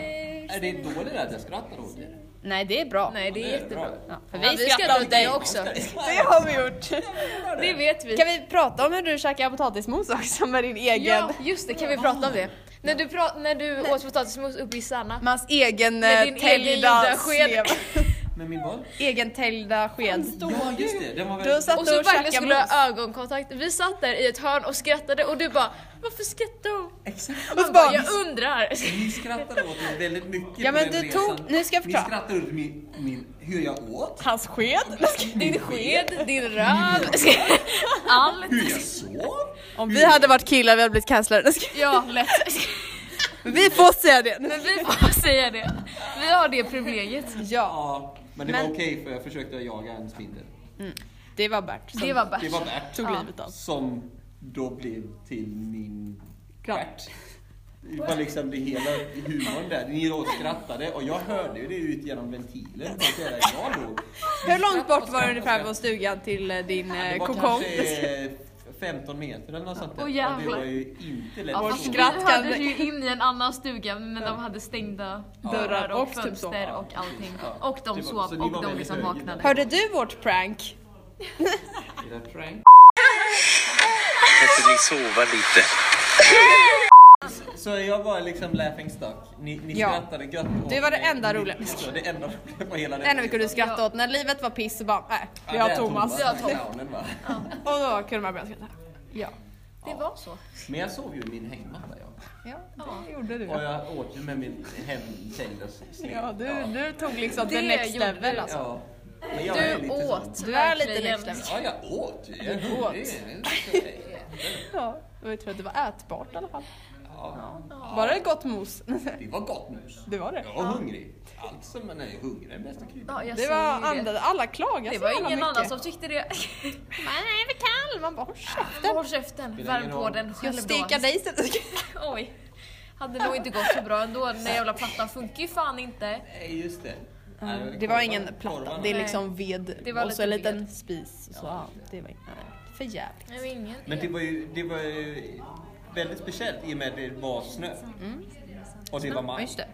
Speaker 1: är det dåligt att jag skrattar åt det?
Speaker 3: Nej det är bra.
Speaker 2: Nej det är jättebra.
Speaker 3: För
Speaker 2: Ja, vi skrattar åt dig också.
Speaker 3: Det har vi gjort.
Speaker 2: Det vet vi.
Speaker 3: Kan vi prata om hur du käkar potatismos också med din egen,
Speaker 2: Ja, just det. Kan vi prata om det? När du, pra- när du åt potatismos uppe i Sanna.
Speaker 3: med hans egen
Speaker 2: Med din
Speaker 3: eh,
Speaker 2: egen
Speaker 3: täljda
Speaker 2: gjorda sked.
Speaker 3: slev.
Speaker 1: Med min boll?
Speaker 3: (laughs) Egen täljda sked.
Speaker 1: Ja, just det. Den var
Speaker 3: Du
Speaker 1: väldigt...
Speaker 3: satt
Speaker 2: Och så
Speaker 3: och
Speaker 2: verkligen
Speaker 3: käkade
Speaker 2: skulle
Speaker 3: mos.
Speaker 2: ha ögonkontakt. Vi satt där i ett hörn och skrattade och du bara Varför skrattar hon?
Speaker 1: Exakt.
Speaker 3: Och så
Speaker 2: Bara,
Speaker 3: bara,
Speaker 2: jag undrar. (laughs)
Speaker 1: Ni skrattade åt mig väldigt mycket
Speaker 3: Ja,
Speaker 1: på
Speaker 3: men
Speaker 1: den
Speaker 3: du
Speaker 1: resan.
Speaker 3: tog- nu ska jag förklara.
Speaker 1: Ni skrattade åt min, min, hur jag åt,
Speaker 3: (laughs) hans sked.
Speaker 2: Din sked, din röv, (laughs) allt.
Speaker 1: hur jag sov.
Speaker 3: Om vi hade varit killar vi hade blivit cancellade.
Speaker 2: Ja, lätt.
Speaker 3: Vi får säga det.
Speaker 2: Men vi får säga det. Vi har det privilegiet.
Speaker 3: Ja,
Speaker 1: Ja, men det
Speaker 3: Men-
Speaker 1: var okej för jag försökte jaga en spindel.
Speaker 3: det var Bert som
Speaker 2: Det var bäst.
Speaker 1: Det var värt.
Speaker 3: tog livet av oss.
Speaker 1: Som då blev till min stjärt. Det var liksom det hela humorn där. Ni då skrattade och jag hörde ju det ut genom ventilen. Det var så jävla jag då.
Speaker 3: Hur långt bort var det ungefär från stugan till eh, din eh,
Speaker 1: Det var
Speaker 3: kokong?
Speaker 1: kanske eh, 15 meter eller något sånt där.
Speaker 2: Åh,
Speaker 1: Och det
Speaker 2: jävlar.
Speaker 1: var ju inte lätt.
Speaker 3: vårt
Speaker 1: att sova.
Speaker 3: skratt
Speaker 2: Vi
Speaker 3: kan-
Speaker 2: hördes ju in i en annan stuga men de hade stängda dörrar och,
Speaker 3: och typ
Speaker 2: fönster
Speaker 3: så.
Speaker 2: och allting.
Speaker 1: Ja.
Speaker 2: Och
Speaker 1: Det
Speaker 2: de
Speaker 1: var- så
Speaker 2: sov
Speaker 1: ni var
Speaker 2: och de
Speaker 1: väldigt
Speaker 2: liksom
Speaker 1: högljudda.
Speaker 2: vaknade.
Speaker 3: Hörde du vårt prank?
Speaker 1: Är det prank?
Speaker 12: måste vi sova lite.
Speaker 1: Så jag var liksom laughing stock. Ni, ni
Speaker 3: Ja.
Speaker 1: skrattade gött åt
Speaker 3: Det var det
Speaker 1: mig.
Speaker 3: enda roliga.
Speaker 1: (laughs) Ja, Det enda roliga på hela
Speaker 3: Det enda vi kunde skratta åt när livet var piss och bara "Äh." nej, vi
Speaker 1: Ja,
Speaker 3: har
Speaker 1: det är
Speaker 3: Thomas.
Speaker 1: Thomas. Clownen, va?
Speaker 3: Och då kunde man börja skratta. Ja. Det var så.
Speaker 1: Men jag sov ju i min hängmatta. Ja.
Speaker 3: Ja, det gjorde du.
Speaker 1: Och jag åt ju med min hemsäng. och s- sne-
Speaker 3: Ja, du, du tog liksom
Speaker 2: Det
Speaker 3: the next
Speaker 2: gjorde
Speaker 3: level
Speaker 2: du.
Speaker 3: alltså.
Speaker 1: Ja. Men jag är
Speaker 3: Du
Speaker 1: lite sån-
Speaker 3: åt. Du är lite
Speaker 9: Verkligen.
Speaker 3: next level.
Speaker 1: Ja, jag åt ju. Jag
Speaker 3: Du åt.
Speaker 1: Det är okej.
Speaker 3: alltså. Ja, det var ju tur att det var ätbart i alla fall.
Speaker 1: Ja,
Speaker 3: Var det gott mos? (laughs)
Speaker 1: det var gott mus.
Speaker 3: Det var det.
Speaker 1: Jag var hungrig. Allt som man är hungrig är bästa kryddan.
Speaker 2: Ja, jag
Speaker 3: Det
Speaker 2: säger
Speaker 3: var
Speaker 2: ju
Speaker 3: andra, alla klagade
Speaker 2: Det
Speaker 3: så jävla
Speaker 2: var ingen
Speaker 3: mycket.
Speaker 2: annan som tyckte det.
Speaker 3: Nej, det är kall! Man bara håll käften.
Speaker 2: Håll käften,
Speaker 1: Spelar
Speaker 2: värm
Speaker 1: ingen
Speaker 2: på
Speaker 1: roll.
Speaker 2: den själv
Speaker 3: Jag steka
Speaker 2: då.
Speaker 3: dig istället.
Speaker 2: (laughs) Oj. Hade nog inte gått så bra ändå. Den där jävla plattan funkar ju fan inte.
Speaker 1: Nej, just det. Nej,
Speaker 3: Det var ingen
Speaker 1: korvarna-
Speaker 3: platta,
Speaker 1: korvarna.
Speaker 3: det är
Speaker 2: Nej.
Speaker 3: liksom ved
Speaker 2: Det var
Speaker 3: och så
Speaker 2: lite
Speaker 3: en liten
Speaker 2: ved.
Speaker 3: spis. Och så. Ja, det var inget. nej, För jävligt.
Speaker 2: Nej, men ingen
Speaker 1: Men det var, ju, det var ju väldigt speciellt i och med att det var snö. Och det var
Speaker 3: Mm. Ja,
Speaker 1: maj.
Speaker 3: just det.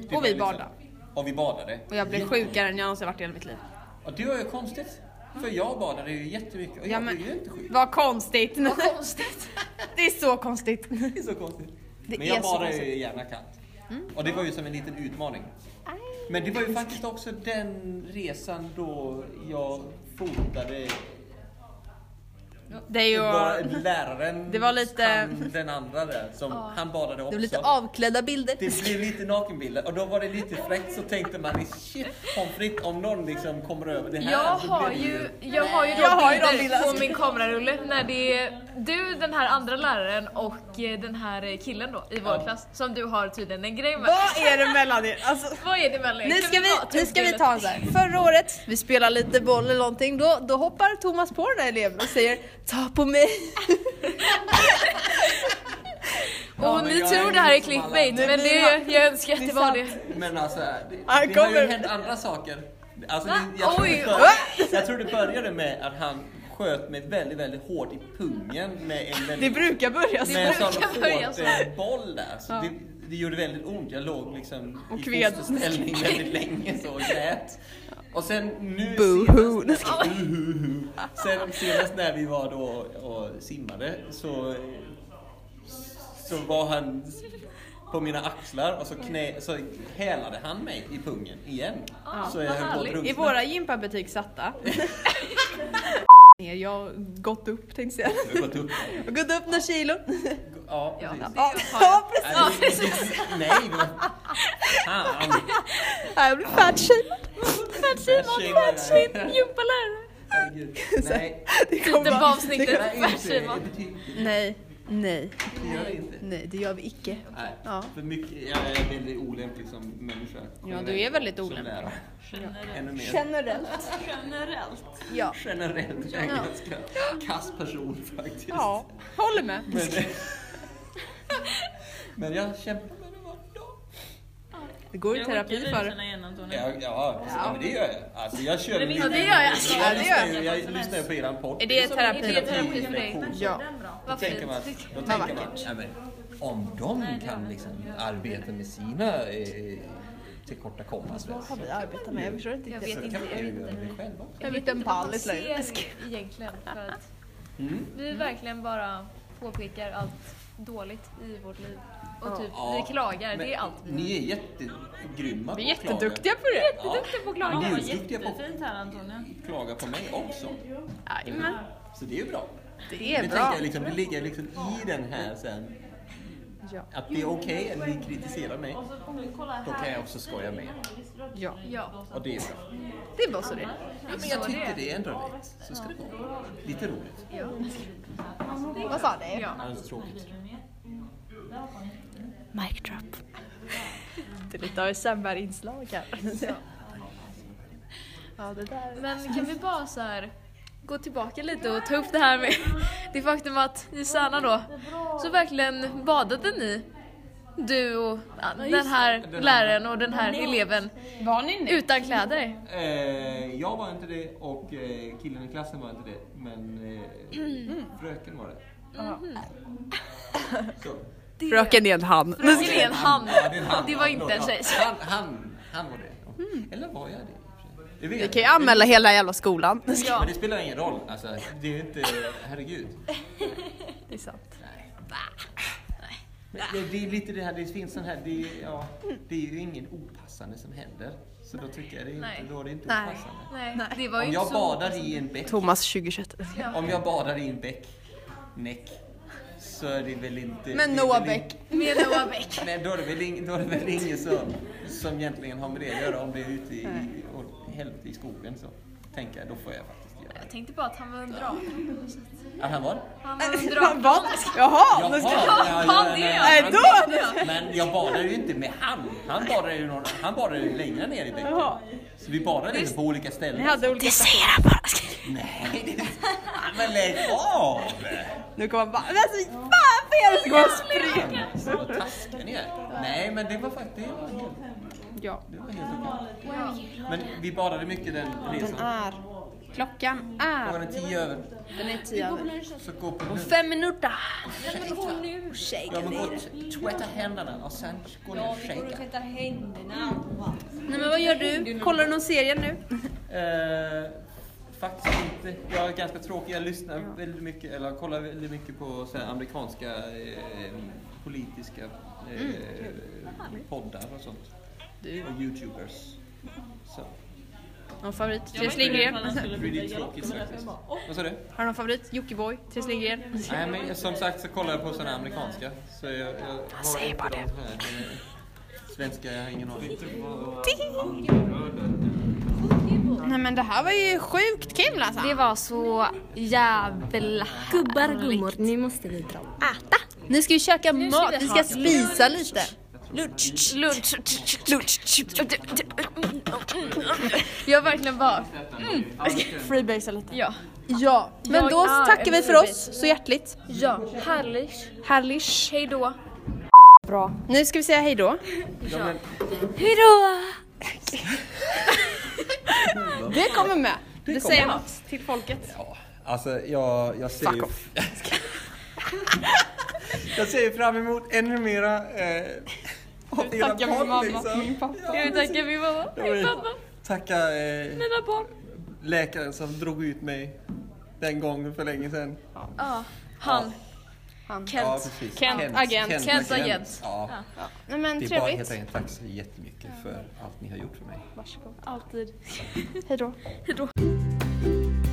Speaker 1: Det
Speaker 3: Och
Speaker 1: var
Speaker 3: vi
Speaker 1: liksom-
Speaker 3: badade.
Speaker 1: Och vi badade.
Speaker 3: Och jag blev sjukare än jag någonsin varit i hela mitt liv.
Speaker 1: Och det var ju konstigt. För jag badade ju jättemycket och jag
Speaker 3: Ja, men-
Speaker 1: blev ju inte sjuk.
Speaker 3: Vad konstigt!
Speaker 2: konstigt.
Speaker 3: (laughs) Det är så konstigt.
Speaker 1: Det är så konstigt.
Speaker 3: Det
Speaker 1: men
Speaker 3: är
Speaker 1: jag
Speaker 3: så
Speaker 1: badade ju
Speaker 3: konstigt. Mm.
Speaker 1: gärna kallt. Och det var ju som en liten utmaning. Men det var ju faktiskt också den resan då jag fotade
Speaker 3: Det är
Speaker 1: Det
Speaker 3: ju...
Speaker 1: var läraren,
Speaker 3: Det var lite-
Speaker 1: han, den andra där, som, han badade också.
Speaker 3: Det var lite avklädda bilder.
Speaker 1: Det blev lite nakenbilder och då var det lite fräckt så tänkte man shit pommes frites om någon liksom kommer över det här. alltså
Speaker 2: Jag
Speaker 1: så
Speaker 2: har
Speaker 1: blir det
Speaker 2: ju, jag har ju då
Speaker 3: Jag har ju de
Speaker 2: bilder
Speaker 3: bilderna.
Speaker 2: på min kamerarulle när det är du, den här andra läraren och eh, den här killen då i vår
Speaker 1: Ja.
Speaker 2: klass som du har tydligen en grej med.
Speaker 3: Vad är det mellan er? Alltså,
Speaker 2: (laughs) Vad är det mellan
Speaker 3: nu, ska vi, nu ska vi ta en så här. Förra året, vi spelar lite boll eller någonting, då, då hoppar Thomas på den här eleven och säger Ta på mig!
Speaker 1: Ja,
Speaker 2: Och
Speaker 1: men
Speaker 2: ni
Speaker 1: jag
Speaker 2: tror
Speaker 1: är
Speaker 2: det här är
Speaker 3: liksom
Speaker 1: inte som alla
Speaker 2: clickbait
Speaker 1: andra.
Speaker 2: men det, jag önskar att
Speaker 3: Det är
Speaker 2: det var
Speaker 3: sant.
Speaker 2: det.
Speaker 1: Men alltså det,
Speaker 3: Han
Speaker 1: det har ju
Speaker 3: kommer.
Speaker 1: hänt andra saker. Alltså,
Speaker 2: Va?
Speaker 1: det, jag, tror
Speaker 2: Oj.
Speaker 1: det började, jag tror det började med att han sköt mig väldigt väldigt hårt i pungen med en väldigt
Speaker 3: Det brukar börja så.
Speaker 1: med en sån
Speaker 2: brukar börja så.
Speaker 1: hårdboll där. Så det, det gjorde väldigt ont. Jag låg liksom
Speaker 3: Och
Speaker 1: i
Speaker 3: kved.
Speaker 1: fosterställning väldigt länge så och grät. Och sen nu
Speaker 3: Boo-hoo.
Speaker 1: senast, Boo-hoo. sen senast när vi var då och simmade så, så var han på mina axlar och så, knä, så hälade han mig i pungen igen. så jag
Speaker 2: vad
Speaker 1: höll på att
Speaker 2: härligt.
Speaker 3: I
Speaker 1: drunkna.
Speaker 3: våra gympabetyg satta. Jag har gått upp tänkte jag säga.
Speaker 1: Jag har gått upp.
Speaker 3: Jag har Gått upp några kilo.
Speaker 1: Ja, precis.
Speaker 3: Ja, ja precis.
Speaker 1: Nej, det- Nej, men fan.
Speaker 3: Jag blir fatshamead.
Speaker 1: Fatshamead,
Speaker 2: Gympalärare!
Speaker 1: Herregud. Nej,
Speaker 3: Det
Speaker 2: Titeln på
Speaker 1: det
Speaker 2: avsnittet,
Speaker 1: gör jag inte.
Speaker 2: fatshamead.
Speaker 1: Det betyder-
Speaker 3: Nej, nej,
Speaker 1: det gör jag inte.
Speaker 3: nej det gör vi icke.
Speaker 1: Nej,
Speaker 3: Ja.
Speaker 1: för mycket, jag är väldigt olämplig som människa.
Speaker 3: Ja, du är väldigt
Speaker 1: Som
Speaker 3: olämplig.
Speaker 1: lärare. Ännu mer.
Speaker 3: Generellt.
Speaker 9: Generellt.
Speaker 3: Ja.
Speaker 1: Generellt är jag en ganska kass person faktiskt.
Speaker 3: Ja, håller med.
Speaker 1: Men, eh, (laughs) men jag kämpar med det varje dag.
Speaker 3: Det går ju
Speaker 9: Jag skickar
Speaker 3: terapi för
Speaker 9: dig
Speaker 3: det.
Speaker 9: sina igen Antonija.
Speaker 1: Ja, ja, precis. ja, men det gör jag. Alltså, jag kör
Speaker 9: Men det-
Speaker 1: mycket.
Speaker 9: ja, det
Speaker 2: gör jag.
Speaker 6: Alltså,
Speaker 1: Jag,
Speaker 3: Ja, det
Speaker 1: lyssnar
Speaker 3: gör
Speaker 1: ju- jag lyssnar ju på eran podd.
Speaker 3: Är det terapi?
Speaker 1: Det är
Speaker 2: terapi för dig?
Speaker 1: reflektion.
Speaker 3: Ja.
Speaker 1: Då tänker man, då tänker man ja, men, om de kan liksom arbeta med sina eh, tillkortakommanden så
Speaker 3: Vad vi arbetar med? Jag förstår inte
Speaker 2: Jag
Speaker 3: riktigt.
Speaker 2: vet
Speaker 1: kan
Speaker 2: inte.
Speaker 1: man ju göra det själv också.
Speaker 3: En liten pall i slöjden.
Speaker 2: egentligen för att
Speaker 3: Mm.
Speaker 2: vi verkligen bara påpekar allt dåligt i vårt liv. Och typ
Speaker 1: Ja,
Speaker 2: vi klagar,
Speaker 1: men
Speaker 2: det är allt vi
Speaker 1: Ni är jättegrymma
Speaker 3: Vi är
Speaker 1: på att klaga.
Speaker 3: jätteduktiga på det.
Speaker 1: Ja,
Speaker 2: duktiga på att
Speaker 1: men ni
Speaker 2: klaga.
Speaker 1: är
Speaker 9: Vad
Speaker 1: ju duktiga på
Speaker 9: jättefint här Antonija.
Speaker 1: att klaga på mig också.
Speaker 3: Jajamän.
Speaker 1: Så det är ju bra.
Speaker 3: Det är
Speaker 1: det,
Speaker 3: bra.
Speaker 1: tänker jag liksom, det ligger liksom i den här sen.
Speaker 3: Ja.
Speaker 1: Att det är okej att ni kritiserar mig.
Speaker 9: Och så om du kollar
Speaker 1: Då kan
Speaker 9: här.
Speaker 1: jag också skoja med er.
Speaker 3: Ja,
Speaker 2: Ja,
Speaker 1: Och det är bra.
Speaker 3: det är bara så det är.
Speaker 1: Ja, men jag tyckte det är ändå rätt. Så ska det vara. Lite roligt.
Speaker 3: Vad sa du?
Speaker 2: ja.
Speaker 1: Annars tråkigt.
Speaker 13: Mic drop.
Speaker 3: Det är lite av ett Sandberg-inslag här. Ja, det där.
Speaker 2: Men kan vi bara så här gå tillbaka lite och ta upp det här med (laughs) det faktum att i Särna då så verkligen badade ni du och den här läraren och den här eleven
Speaker 3: Var ni nu?
Speaker 2: utan kläder.
Speaker 1: Eh, jag var inte det och eh, killen i klassen var inte det. Men eh,
Speaker 3: Mm. (laughs)
Speaker 1: fröken var det. Så.
Speaker 3: Fröken är en han.
Speaker 2: Det är en han.
Speaker 1: Ja, det är en han.
Speaker 2: Det var inte en tjej.
Speaker 1: Ja, Han, han, han var det. Eller var jag det? i och för sig? Det vet
Speaker 3: Mm. Vi kan ju
Speaker 1: jag inte.
Speaker 3: anmäla hela jävla skolan.
Speaker 1: Men det spelar ingen roll. Alltså, det är inte... Herregud.
Speaker 3: Det är sant.
Speaker 1: Men det, det är lite det här, det finns sån här... Det, är- ja, det är ju ingen opassande som händer. Så då tycker jag det är inte,
Speaker 2: Nej.
Speaker 1: då är det inte
Speaker 3: Nej.
Speaker 1: opassande.
Speaker 2: Nej, det var ju
Speaker 1: Om
Speaker 2: inte
Speaker 1: jag
Speaker 2: så.
Speaker 1: badar i en bäck,
Speaker 3: Thomas 2021.
Speaker 1: om jag badar i en bäck, näck, så är det väl inte...
Speaker 6: Men
Speaker 1: det är
Speaker 6: Noah
Speaker 1: väl in-
Speaker 6: Beck.
Speaker 2: Med Noah Beck.
Speaker 1: Nej, då är det väl, in, då är det väl ingen som, som egentligen har med det att göra om det är ute i, och, helvete i skogen så tänker jag, då får jag faktiskt göra
Speaker 2: Jag tänkte bara att han var en drake.
Speaker 1: det. Ah, han var det?
Speaker 2: Han var (laughs)
Speaker 3: (laughs)
Speaker 2: en drake.
Speaker 1: Jaha!
Speaker 6: Jaha! nu ska-
Speaker 1: ja,
Speaker 2: fan,
Speaker 1: ja,
Speaker 2: det
Speaker 1: ja,
Speaker 2: är
Speaker 1: ja.
Speaker 6: Nej, då!
Speaker 1: Men jag badade ju inte med han. Han badade ju, någon, han badade ju längre ner i bäcken. Så vi badade inte på olika ställen.
Speaker 3: Ni hade olika...
Speaker 1: Nej, det- Ja, men lägg av!
Speaker 6: Nu kommer han bara, men alltså fan fel! Så kommer han springa.
Speaker 1: Så Vad taskiga ni är. Nej, men det var faktiskt... Det var helt,
Speaker 3: Ja.
Speaker 1: det var helt okej. Men vi badade mycket den resan.
Speaker 3: Är. Klockan är...
Speaker 1: Var den tio över?
Speaker 6: Ah. Den är tio över.
Speaker 1: Så gå på nu.
Speaker 6: Fem minuter.
Speaker 1: Ja, men gå och tvätta händerna och sen gå ner och shaka.
Speaker 9: Tvätta händerna.
Speaker 6: Nej men vad gör du? Kollar du någon serie nu?
Speaker 1: Eh, faktiskt inte. Jag är ganska tråkig. Jag lyssnar väldigt mycket, eller jag kollar väldigt mycket på så här, amerikanska eh, politiska eh, poddar och sånt. Och youtubers. Så.
Speaker 6: Någon favorit? Therese Lindgren?
Speaker 1: Pretty tråkigt faktiskt. Vad sa du?
Speaker 6: Har du någon favorit? Jockiboi? Therese Lindgren?
Speaker 1: Nej men jag- som sagt så kollar jag på sådana amerikanska. Så jag, jag har inte bara det. Svenska, jag har ingen aning.
Speaker 3: Nej men det här var ju sjukt kul alltså.
Speaker 2: Det var så jävla
Speaker 4: Gubbar och gummor, nu måste vi dra och äta.
Speaker 6: Ni ska ju käka mat, ni ska spisa lite.
Speaker 2: lunch. Jag verkligen bara...
Speaker 6: Freebasea lite.
Speaker 2: Ja.
Speaker 6: Ja, men då
Speaker 2: Jag är
Speaker 6: tackar vi för oss så hjärtligt.
Speaker 2: Ja. Härligt.
Speaker 6: Härligt.
Speaker 2: Hej då.
Speaker 6: Nu ska vi säga hej då. Det kommer med. Det säger något till folket.
Speaker 1: Alltså jag, jag ser ju... (laughs) jag ser ju fram emot ännu mera... Eh, av era
Speaker 3: tackar min
Speaker 1: barn,
Speaker 3: mamma,
Speaker 1: liksom.
Speaker 3: min pappa.
Speaker 1: Ja,
Speaker 2: Nu tackar vi mamma.
Speaker 1: jag vill
Speaker 2: Hej pappa.
Speaker 1: Tacka eh,
Speaker 2: Mina barn.
Speaker 1: läkaren som drog ut mig den gången för länge sedan.
Speaker 2: Ja. Han.
Speaker 1: Ja,
Speaker 2: Kent.
Speaker 1: precis.
Speaker 3: Kent, agent.
Speaker 2: Kent, agent.
Speaker 1: Ja.
Speaker 3: Nej men
Speaker 1: Det är bara
Speaker 3: trevligt.
Speaker 1: helt enkelt tack så jättemycket för allt ni har gjort för mig.
Speaker 2: Hej då.